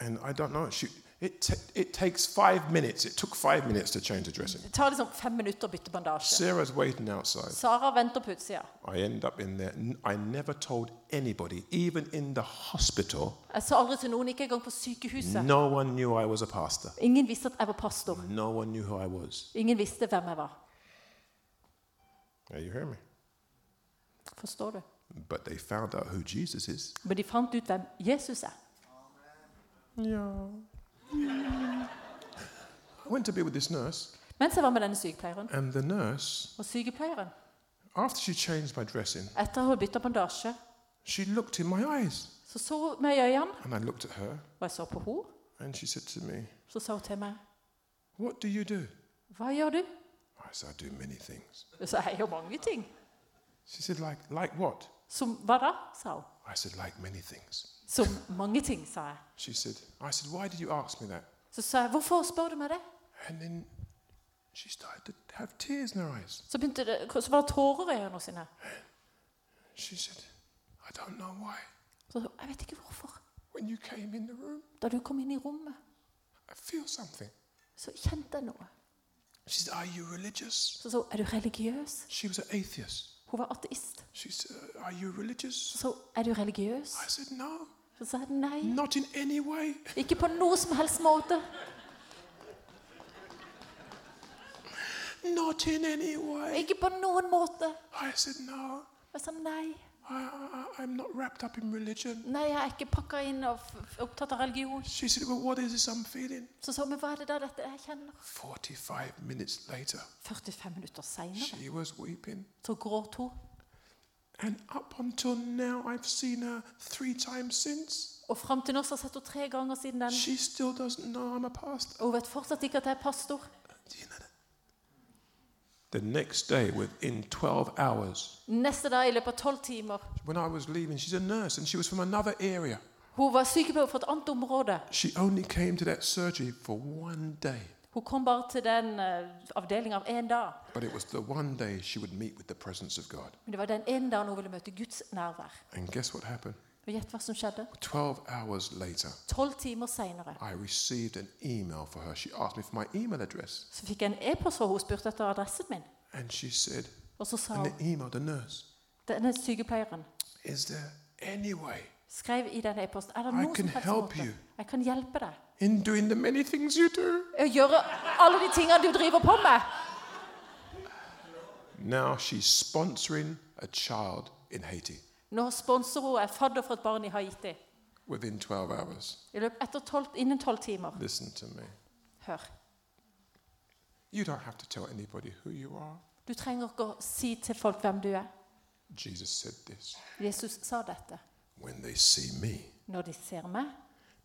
And I don't know. She, it, ta it takes five minutes. It took five minutes to change the dressing.
Det tar liksom fem minutter å bytte bandasje.
Sarah's waiting outside.
Sara venter på utsida.
I end up in there. N- I never told anybody, even in the hospital.
Jeg sa aldri til noen, ikke engang på sykehuset.
No one knew I was a pastor.
Ingen visste at jeg var pastor.
No one knew who I was.
Ingen visste hvem jeg var.
Are you hearing me?
Forstår du?
But they found out who Jesus is.
Men de fant ut hvem Jesus er.
Yeah. I went to be with this nurse,
Mens jeg var med denne sykepleieren.
and the nurse,
Og sykepleieren,
after she changed my dressing,
etter å ha bytta bandasje,
she looked in my eyes.
så så hun meg i øynene,
And I looked at her,
og jeg så på henne.
and she said to me,
Så sa hun til meg,
What do you do?
'Hva gjør du?'
I said, I do many things.
Og så er jeg jo mange ting.
She said, like, like what?
Som hva da? sa hun.
I said, like many things.
Som mange ting, sa jeg.
She said, I said, why did you ask me that?
Så sa jeg, 'Hvorfor spør du meg det?'
And then she started to have tears in her eyes.
Så, begynte det, så var det tårer i øynene sine.
She said, I don't know why.
Så jeg vet ikke hvorfor.
When you came in the room,
Da du kom inn i rommet,
I feel something.
så kjente jeg noe.
She said, Are you religious?
Så sa hun, 'Er du religiøs?'
She was an atheist.
Hun var ateist.
She said, Are you religious?
Så sa hun, 'Er du religiøs?'
I said, No,
Så sa jeg, 'Nei,
not in any way.
ikke på noe som helst måte'.
Not in any way.
Ikke på noen måte.
I said, No,
Jeg sa nei.
I, I, I'm not wrapped up in religion.
Nei, jeg er ikke pakka inn og f- f- opptatt av religion.
She said, Well, what is this I'm feeling?
Så sa hun, men hva er det da dette jeg kjenner?
45 minutes later,
45 minutter seinere
she was weeping.
så gråt hun.
And up until now, I've seen her three times since.
Og fram til nå så har jeg sett henne tre ganger siden den.
She still doesn't know I'm a pastor.
Og hun vet fortsatt ikke at jeg er pastor.
Do you know that? The next day, within 12 hours,
Neste dag, i løpet av tolv timer
when I was leaving, she's a nurse and she was from another area.
Hun var sykepleier for et annet område.
She only came to that surgery for one day,
Hun kom bare til den uh, avdelinga av én dag.
but it was the one day she would meet with the presence of God.
Men det var den ene dagen hun ville møte Guds nærvær.
And guess what happened?
Og gjett hva som skjedde?
12 hours later,
Tolv timer seinere
I received an email for her. She asked me for my email address,
så fikk jeg en e-post fra henne og spurte etter adressen min.
and she said,
Og så sa
and
hun
the email, the nurse,
Denne sykepleieren
is there any way
skrev i den e-posten Er det
I
noen
can
som helst
help
måte
you.
jeg kan hjelpe deg?
in doing the many things you do?
Å gjøre alle de tingene du driver på med?
Now she's sponsoring a child in Haiti
Nå sponser hun er fadder for et barn i Haiti.
within 12 hours.
I løpet etter 12, innen tolv timer.
Listen to me.
Hør.
You don't have to tell anybody who you are.
Du trenger ikke å si til folk hvem du er.
Jesus said this
Jesus sa dette.
When they see me,
Når de ser meg,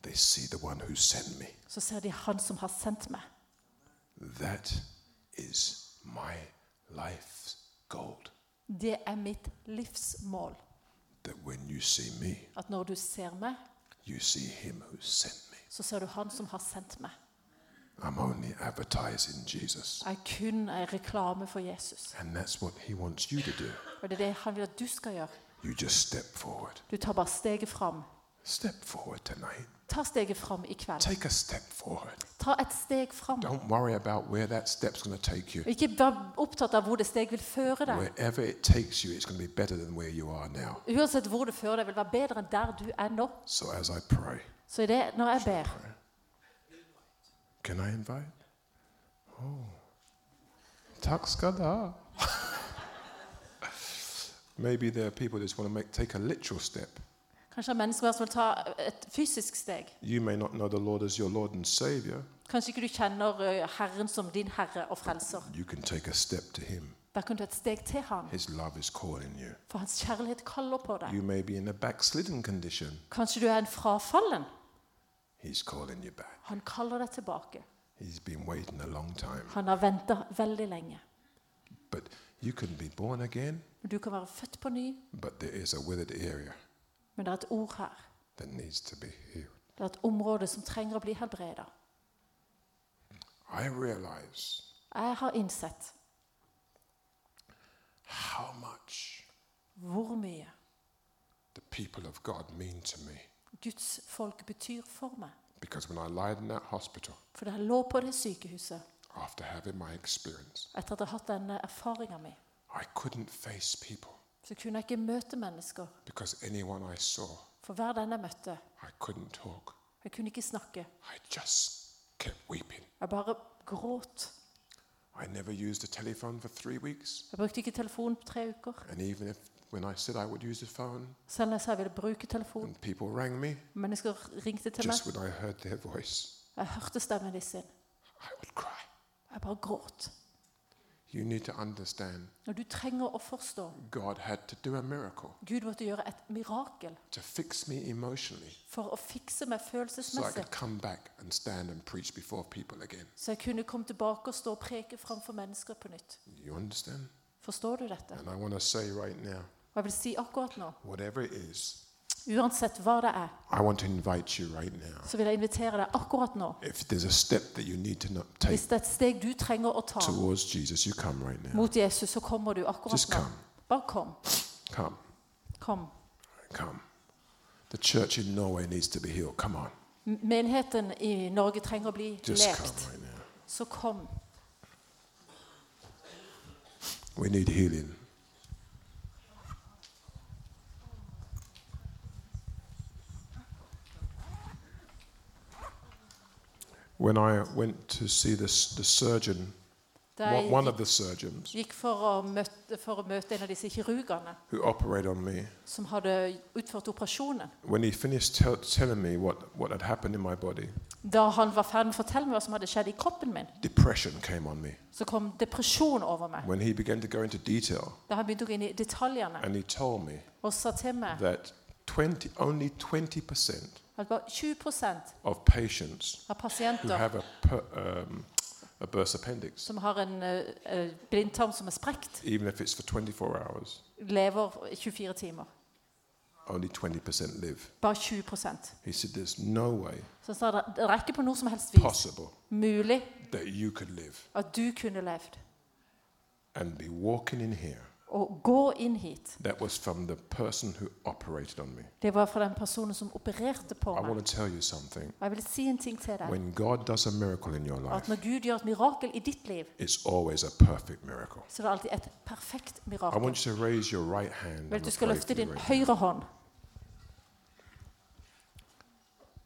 they see the one who sent me.
så ser de Han som har sendt meg.
That is my life's gold.
Det er mitt livsmål.
That when you see me,
At når du ser meg,
you see him who sent me.
så ser du Han som har sendt meg.
I'm only advertising Jesus.
Jeg kun er reklame for Jesus.
And that's what he wants you to do.
Og det er det Han vil at du skal gjøre.
You just step forward.
Du tar bare steget fram.
Step forward tonight.
Ta steget fram i kveld.
Take a step forward.
Ta et steg fram.
Don't worry about where that step's going to take you.
Og Ikke vær opptatt av hvor det steg vil føre deg.
Wherever it takes you, it's going to be better than where you are now.
Uansett hvor det fører deg, vil være bedre enn der du er nå.
So as I pray,
Så i det, når jeg ber
can I invite? Oh. Tack ska du ha. Maybe there are people that just want to make, take a literal step.
Kanskje det er mennesker som vil ta et fysisk steg.
You may not know the Lord as your Lord and Savior,
Kanskje ikke du kjenner eh, Herren som din herre og frelser.
You can take a step to Him.
Da kan du ta et steg til ham,
His love is calling you.
for hans kjærlighet kaller på deg.
You may be in a backslidden condition.
Kanskje du er en frafallen.
He's calling you back.
Han kaller deg tilbake.
He's been waiting a long time.
Han har venta veldig lenge.
But you can be born again,
Du kan være født på ny,
but there is a withered area
men det er et ord her.
that needs to be healed.
Det er et område som trenger å bli helbreda.
I realize
Jeg har innsett
how much
hvor mye
the people of God mean to me.
Guds folk betyr for meg.
Because when I lied in that hospital
For da jeg lå på det sykehuset
after having my experience,
etter at jeg har hatt denne erfaringa mi,
I couldn't face people
så kunne jeg ikke møte mennesker.
because anyone I saw,
For hver den jeg møtte,
I couldn't talk.
jeg kunne ikke snakke.
I just kept weeping.
Jeg bare gråt.
I never used a telephone for three weeks.
Jeg brukte ikke telefon på tre uker.
And even if when I said I would use the phone
Selv når jeg sa jeg ville bruke telefon.
and people rang me,
Mennesker ringte til
Mm.
meg.
just when I heard their voice,
Jeg hørte stemmen deres sin.
I would cry.
Jeg bare gråt.
You need to understand
Og du trenger å forstå.
God had to do a miracle
Gud måtte gjøre et mirakel
to fix me emotionally
for å fikse meg
so I
følelsesmessig.
could come back and stand and preach before people again.
Så jeg kunne komme tilbake og stå og preke framfor mennesker på nytt.
You understand?
Forstår du dette?
And I want to say right now,
Og jeg vil si akkurat nå,
whatever it is,
uansett hva det er,
I want to invite you right now.
så vil jeg invitere deg akkurat nå.
If there's a step that you need to not take
Hvis det er et steg du trenger å ta
towards Jesus, you come right now.
mot Jesus, så kommer du akkurat
Just
nå.
come.
Bare kom.
Come,
Kom.
come. The church in Norway needs to be healed. Come on,
M- Menigheten i Norge trenger å bli
just come
lekt.
right now.
Så kom.
We need healing. When I went to see this, the surgeon,
Da
one, one
jeg
of the surgeons
gikk for å, møte, for å møte en av disse kirurgene
who operated on me,
som hadde utført operasjonen,
when he finished tell, telling me what, what had happened in my body,
da han var ferdig med å fortelle meg hva som hadde skjedd i kroppen min,
depression came on me.
så kom depresjon over meg.
When he began to go into detail,
Da han begynte å gå inn i detaljene
and he told me
og sa til meg
that 20, only 20%
at bare 20
of patients
av
who
pasienter
have a, per, um, a burst appendix
som har en eh, eh, blindtarm som er sprekt,
even if it's for 24 hours,
lever 24 timer.
only 20% live.
Bare 20 Så
He said, There's no way
han sa det det er ikke på noe som helst vis
possible
mulig
that you could live
at du kunne levd.
and be walking in here.
Og gå inn hit.
That was from the person who operated on me.
Det var fra den personen som opererte på
I
meg.
want to tell you something.
Og jeg vil si en ting til deg.
When God does a miracle in your
At
life,
når Gud gjør et mirakel i ditt liv,
it's always a perfect miracle.
så er det alltid et perfekt
I
mirakel.
want you to raise your right hand.
Jeg vil
and
at du skal
pray for
løfte
you
din
right now.
høyre hånd.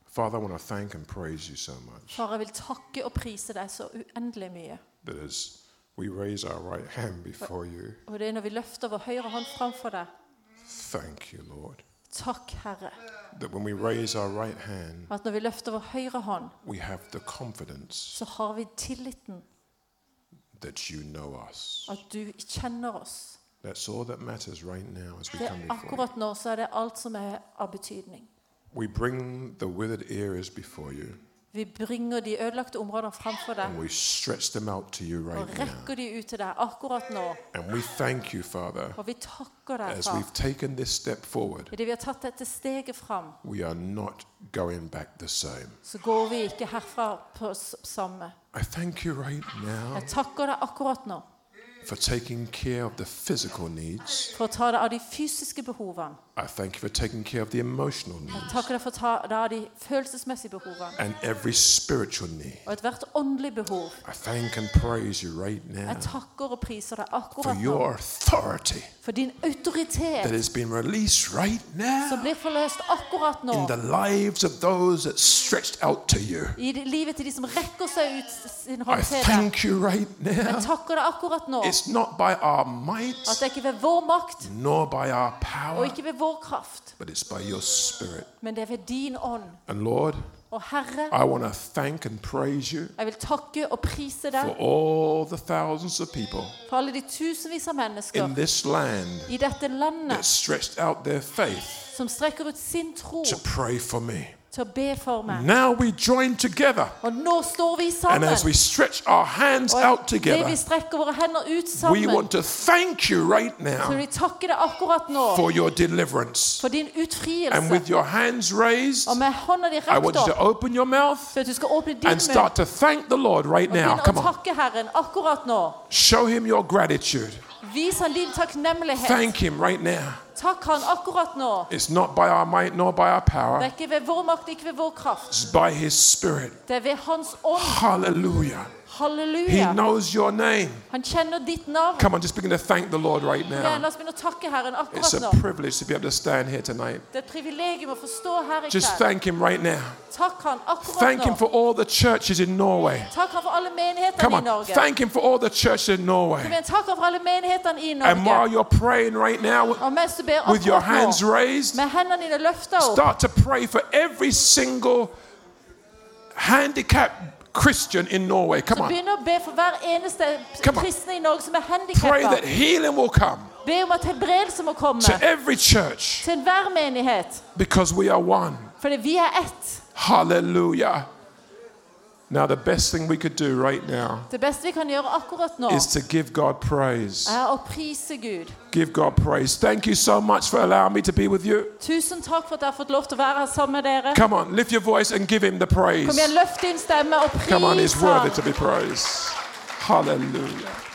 Father, I want to thank and praise you so much
Far, jeg vil takke og prise deg så uendelig mye.
that as we raise our right hand before you,
Og det er når vi løfter vår høyre hånd framfor deg.
thank you, Lord.
Takk, Herre.
That when we raise our right hand,
At når vi løfter vår høyre hånd,
we have the confidence
så har vi tilliten
that you know us.
at du kjenner oss.
That's all that matters right now as we
Det
come before you.
akkurat nå så er det alt som er av betydning.
We bring the withered areas before you
Vi bringer de ødelagte områdene framfor
and
deg
we stretch them out to you
og
right now.
rekker de ut til deg akkurat nå.
And we thank you, Father,
Og vi takker deg,
as
far.
we've taken this step forward,
Idet vi har tatt dette steget fram,
we are not going back the same.
så går vi ikke herfra på s- samme.
I thank you right now
Jeg takker deg akkurat nå
for taking care of the physical needs.
for å ta deg av de fysiske behovene.
I thank you for taking care of the emotional needs
Jeg takker deg for å ta deg av de følelsesmessige behovene
and every spiritual need.
og ethvert åndelig behov.
I thank and praise you right now
Jeg takker og priser deg
for
akkurat nå
your authority.
for din
that
autoritet
has been released right
som
now
blir forløst akkurat nå
in the lives of those that stretched out to you.
i de- livet til de som rekker seg ut sin
I
hånd til deg.
thank you right
Jeg
now.
takker deg akkurat nå
It's It's not by our might
At det er ikke ved vår makt
nor by our
og
power,
ikke ved vår kraft,
but it's by your spirit.
men det er ved din ånd.
And Lord,
Og Herre,
I want to thank and praise you
jeg vil takke og prise
for
deg
all the thousands of people
for alle de tusenvis av
in
mennesker
this land
i dette
that
landet
stretched out their faith
som strekker ut sin tro
to pray for me.
til å be for meg.
Now we join together,
Og nå står vi
and
sammen.
as we stretch our hands out
Og det vi
together,
strekker våre hender ut
we
sammen,
want to thank you right
så vil
now
vi takke deg akkurat nå
for your deliverance.
for Oh din
And with
utfrielse.
your hands raised,
Og med hånda di
I
rett
want you to
opp,
open your mouth
for at du skal åpne din
and
munn
start to thank the Lord right
og
now.
begynne
Come
å
on.
takke Herren akkurat nå.
Show him your gratitude.
Vis han din takknemlighet.
Thank him right now.
Takk han akkurat nå.
It's not by our might nor by our
Det
power,
er ikke ved vår makt, ikke ved vår kraft.
it's by his spirit.
Det er ved Hans ånd.
Hallelujah. He
Halleluja.
knows your name.
Han kjenner ditt navn.
Come on, just begin to thank the Lord right
Ja, La
now.
oss begynne å takke Herren
It's
akkurat
a
nå.
privilege to be able to stand here tonight.
Det er et privilegium å få stå her i
Just
kveld.
thank him right now.
Takk han
Thank
akkurat
him
nå.
for all the churches in Norway.
Takk han for alle
Come
menighetene i
on,
Norge.
thank him for all the churches in
Kom
Norway.
igjen, takk han for alle menighetene i
And while
Norge.
you're praying right now,
Og mens du ber
with your
akkurat
hands
nå,
raised,
med hendene dine løfta opp,
start to pray for every single handicapped Christian in Norway. Come on.
begynn å be for hver eneste
Come on.
kristne i Norge som er
Pray that
handikappa.
healing will come
Be om at helbredelse må komme
to every church
til enhver menighet.
because we are one.
Fordi vi er ett.
Hallelujah. Now, the best thing we could do right now
Det beste vi kan gjøre akkurat nå,
is to give God praise.
er å prise Gud.
Give God praise. Thank you so much for allowing me to be with you.
Tusen takk for at jeg har fått lov til å være her sammen med dere.
Come on, lift your voice and give Him the praise.
Kom igjen, løft din stemme og
Come on,
pris
He's worthy
ham.
to be praised. Hallelujah.